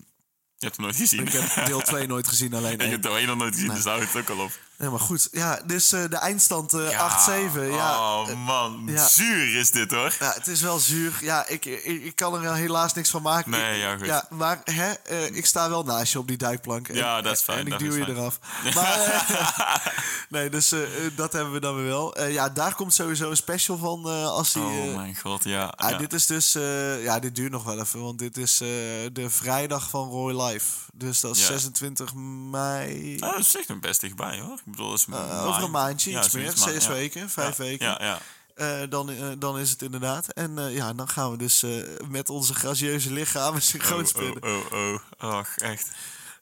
hebt hem nooit gezien.
ik heb deel 2 nooit gezien. Alleen
(laughs) Ik
één.
heb de ene nog nooit gezien, dus daar houdt het ook al op.
Nee, maar goed. Ja, dus eh, de eindstand eh, 8-7. Ja.
Oh man,
ja.
zuur is dit hoor.
ja, het is wel zuur. Ja, ik, ik, ik kan er helaas niks van maken.
Nee,
Ik-
ja, goed.
Ja, maar hè, eh, ik sta wel naast je op die duikplank. En,
Ja, dat is fijn,
En ik
dat
duw
is
je
fijn. (laughs)
eraf. Maar, eh, nee, dus eh, eh, dat hebben we dan weer wel. Eh, ja, daar komt sowieso een special van eh, als die... eh,
Oh mijn god, ja.
ah,
ja.
Dit is dus... eh, ja, dit duurt nog wel even, want dit is eh, de vrijdag van Roy Live. Dus dat is
Ja.
26 mei...
Ah, dat is echt nog best dichtbij hoor. Ik bedoel, dat is
Eh,
maand.
over een maandje,
Ah, Ja,
iets meer.
zoiets, maand,
Zes
ja.
weken, vijf
Ja,
weken.
Ja, ja.
Eh, dan, eh, dan is het inderdaad. En eh, ja, dan gaan we dus eh, met onze gracieuze lichamen synchroon
Oh,
spinnen.
oh, oh, oh. Ach, echt.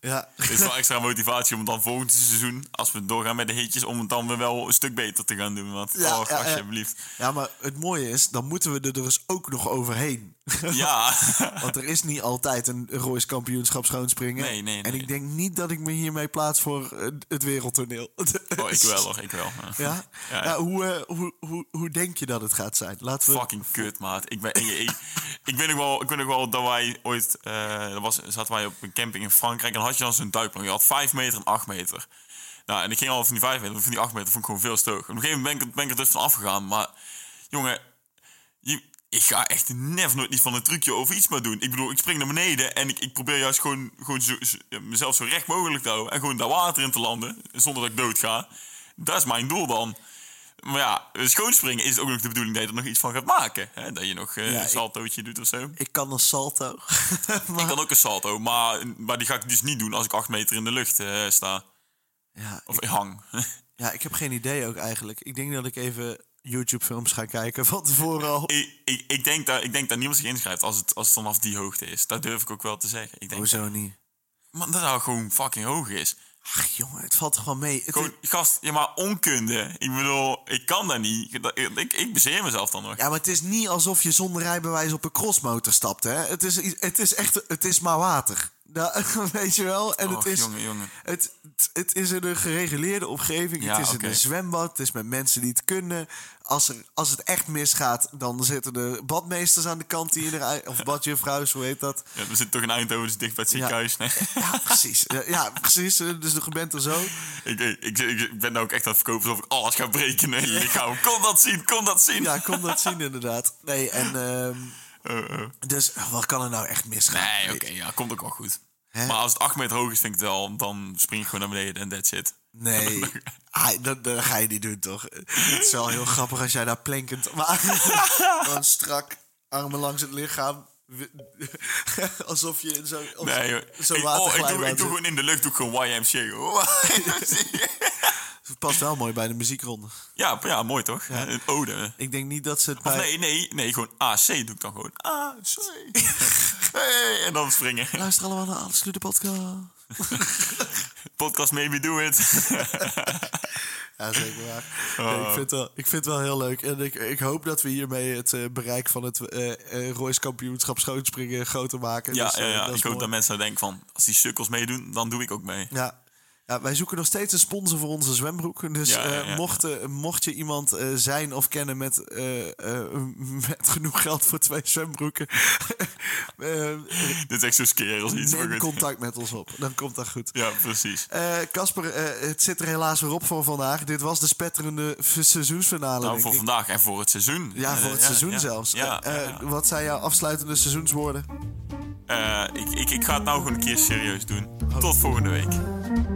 Ja.
Het is wel extra motivatie om het dan volgend seizoen, als we doorgaan met de hitjes, om het dan weer wel een stuk beter te gaan doen. Want,
Ja,
och,
ja, ja. (laughs)
alsjeblieft.
ja, maar het mooie is, dan moeten we er dus ook nog overheen. (laughs)
Ja. (laughs)
Want er is niet altijd een Royce kampioenschap schoonspringen.
Nee, nee,
En
nee.
ik denk niet dat ik me hiermee plaats voor eh, het wereldtoneel.
Oh, ik wel hoor, ik wel.
Ja?
Ja.
Nou, hoe, eh, hoe, hoe, hoe denk je dat het gaat zijn? Laten we...
Fucking kut, maat. Ik, ben, ik, ik, ik weet nog wel, ik weet nog wel dat wij ooit... eh, dat was, zaten wij op een camping in Frankrijk en had je dan zo'n duikplank. Je had 5 meter en 8 meter. Nou, en ik ging al van die 5 meter, van die 8 meter vond ik gewoon veel stoog. Op een gegeven moment ben ik, ben ik er dus van afgegaan. Maar, jongen, je- ik ga echt never nooit niet van een trucje over iets maar doen. Ik bedoel, ik spring naar beneden en ik, ik probeer juist gewoon, gewoon zo, zo- mezelf zo recht mogelijk te houden. En gewoon daar water in te landen, zonder dat ik dood ga. Dat is mijn doel dan. Maar ja, schoonspringen is ook nog de bedoeling dat je er nog iets van gaat maken. Hè? Dat je nog eh,
Ja,
een
ik-
saltootje doet of zo.
Ik kan een salto. (laughs)
Ik
maar...
kan ook een salto, maar, maar die ga ik dus niet doen als ik acht meter in de lucht eh, sta.
ja,
Of hang. (laughs)
Ja, ik heb geen idee ook eigenlijk. Ik denk dat ik even YouTube-films ga kijken van tevoren al.
ik, ik, ik, denk dat, ik denk dat niemand zich inschrijft als het, als het vanaf die hoogte is. Dat durf ik ook wel te zeggen. Ik denk,
Hoezo niet?
man, dat nou gewoon fucking hoog is.
Ach jongen, het valt toch wel mee. Het
Gewoon, gast, ja, maar onkunde. Ik bedoel, ik kan dat niet. Dat- Ik, ik bezeer mezelf dan nog.
Ja, maar het is niet alsof je zonder rijbewijs op een crossmotor stapt, hè? Het is, i- het is echt, het is maar water. Nou, (laughs) weet je wel. En
Och,
het, is,
jongen, jongen.
Het, het is in een gereguleerde omgeving.
Ja,
het is
oké.
in een zwembad. Het is met mensen die het kunnen. Als, er, als het echt misgaat, dan zitten de badmeesters aan de kant die je eruit... Of badjuffrouws, hoe heet dat?
Ja, we zitten toch in Eindhoven, dus dicht bij het ziekenhuis. Nee. (laughs)
Ja, precies. Ja, Ja, precies. Dus je bent er zo.
ik, ik, ik, ik ben nou ook echt aan het verkopen alsof ik alles ga breken in mijn hele lichaam. Kom dat zien, kom dat zien.
Ja, kon dat zien inderdaad. Nee, en... ehm,
Eh, eh.
dus wat kan er nou echt misgaan?
Nee, oké, ja, komt ook wel goed.
Hè?
Maar als het 8 meter hoog is, vind ik het wel, dan spring ik gewoon naar beneden en that's it.
Nee, ah, dat, dat ga je niet doen, toch? Het is wel heel grappig als jij daar plankend... (laughs) Maar gewoon strak, armen langs het lichaam. (laughs) Alsof je in zo'n op
Nee, joh.
zo'n
ik, oh, ik, doe,
waterglijbaan
ik doe
zit.
gewoon in de lucht doe ik gewoon YMCA. (laughs) joh.
Het past wel mooi bij de muziekronde.
ja, ja, mooi toch? Een ode.
Ik denk niet dat ze het
Of
bij...
nee, nee, nee, gewoon AC doe ik dan gewoon. AC.
(laughs)
hey, en dan springen.
Luister allemaal naar Absolute Podcast.
Podcast Maybe Do (laughs) It.
Ja, zeker
(laughs)
waar. Nee,
Oh.
ik, vind het wel, ik vind het wel heel leuk. En ik, ik hoop dat we hiermee het eh, bereik van het eh eh, Royce kampioenschap schootspringen groter maken.
ja,
Dus, eh,
ja, ja.
dat is
ik hoop
mooi.
dat mensen denken van, als die sukkels meedoen, dan doe ik ook mee.
Ja. Ja, wij zoeken nog steeds een sponsor voor onze zwembroek. Dus
Ja, ja,
eh,
ja.
mocht, eh, mocht je iemand eh, zijn of kennen met, eh, eh, (laughs) met genoeg geld voor twee zwembroeken, (laughs)
(laughs)
eh,
Dit is echt zo'n scare als iets. maar
neem
goed.
contact met ons op. Dan komt dat goed.
Ja, precies.
Eh, Casper, eh, het zit er helaas weer op voor vandaag. Dit was de spetterende v- seizoensfinale.
Nou,
denk
voor
ik.
vandaag en voor het seizoen.
Ja,
Eh,
voor het seizoen
ja.
zelfs.
Ja,
Eh,
ja,
eh,
ja.
Wat zijn jouw afsluitende seizoenswoorden?
Eh, ik, ik,
Oh.
ik ga het nou gewoon een keer serieus doen. Tot volgende week.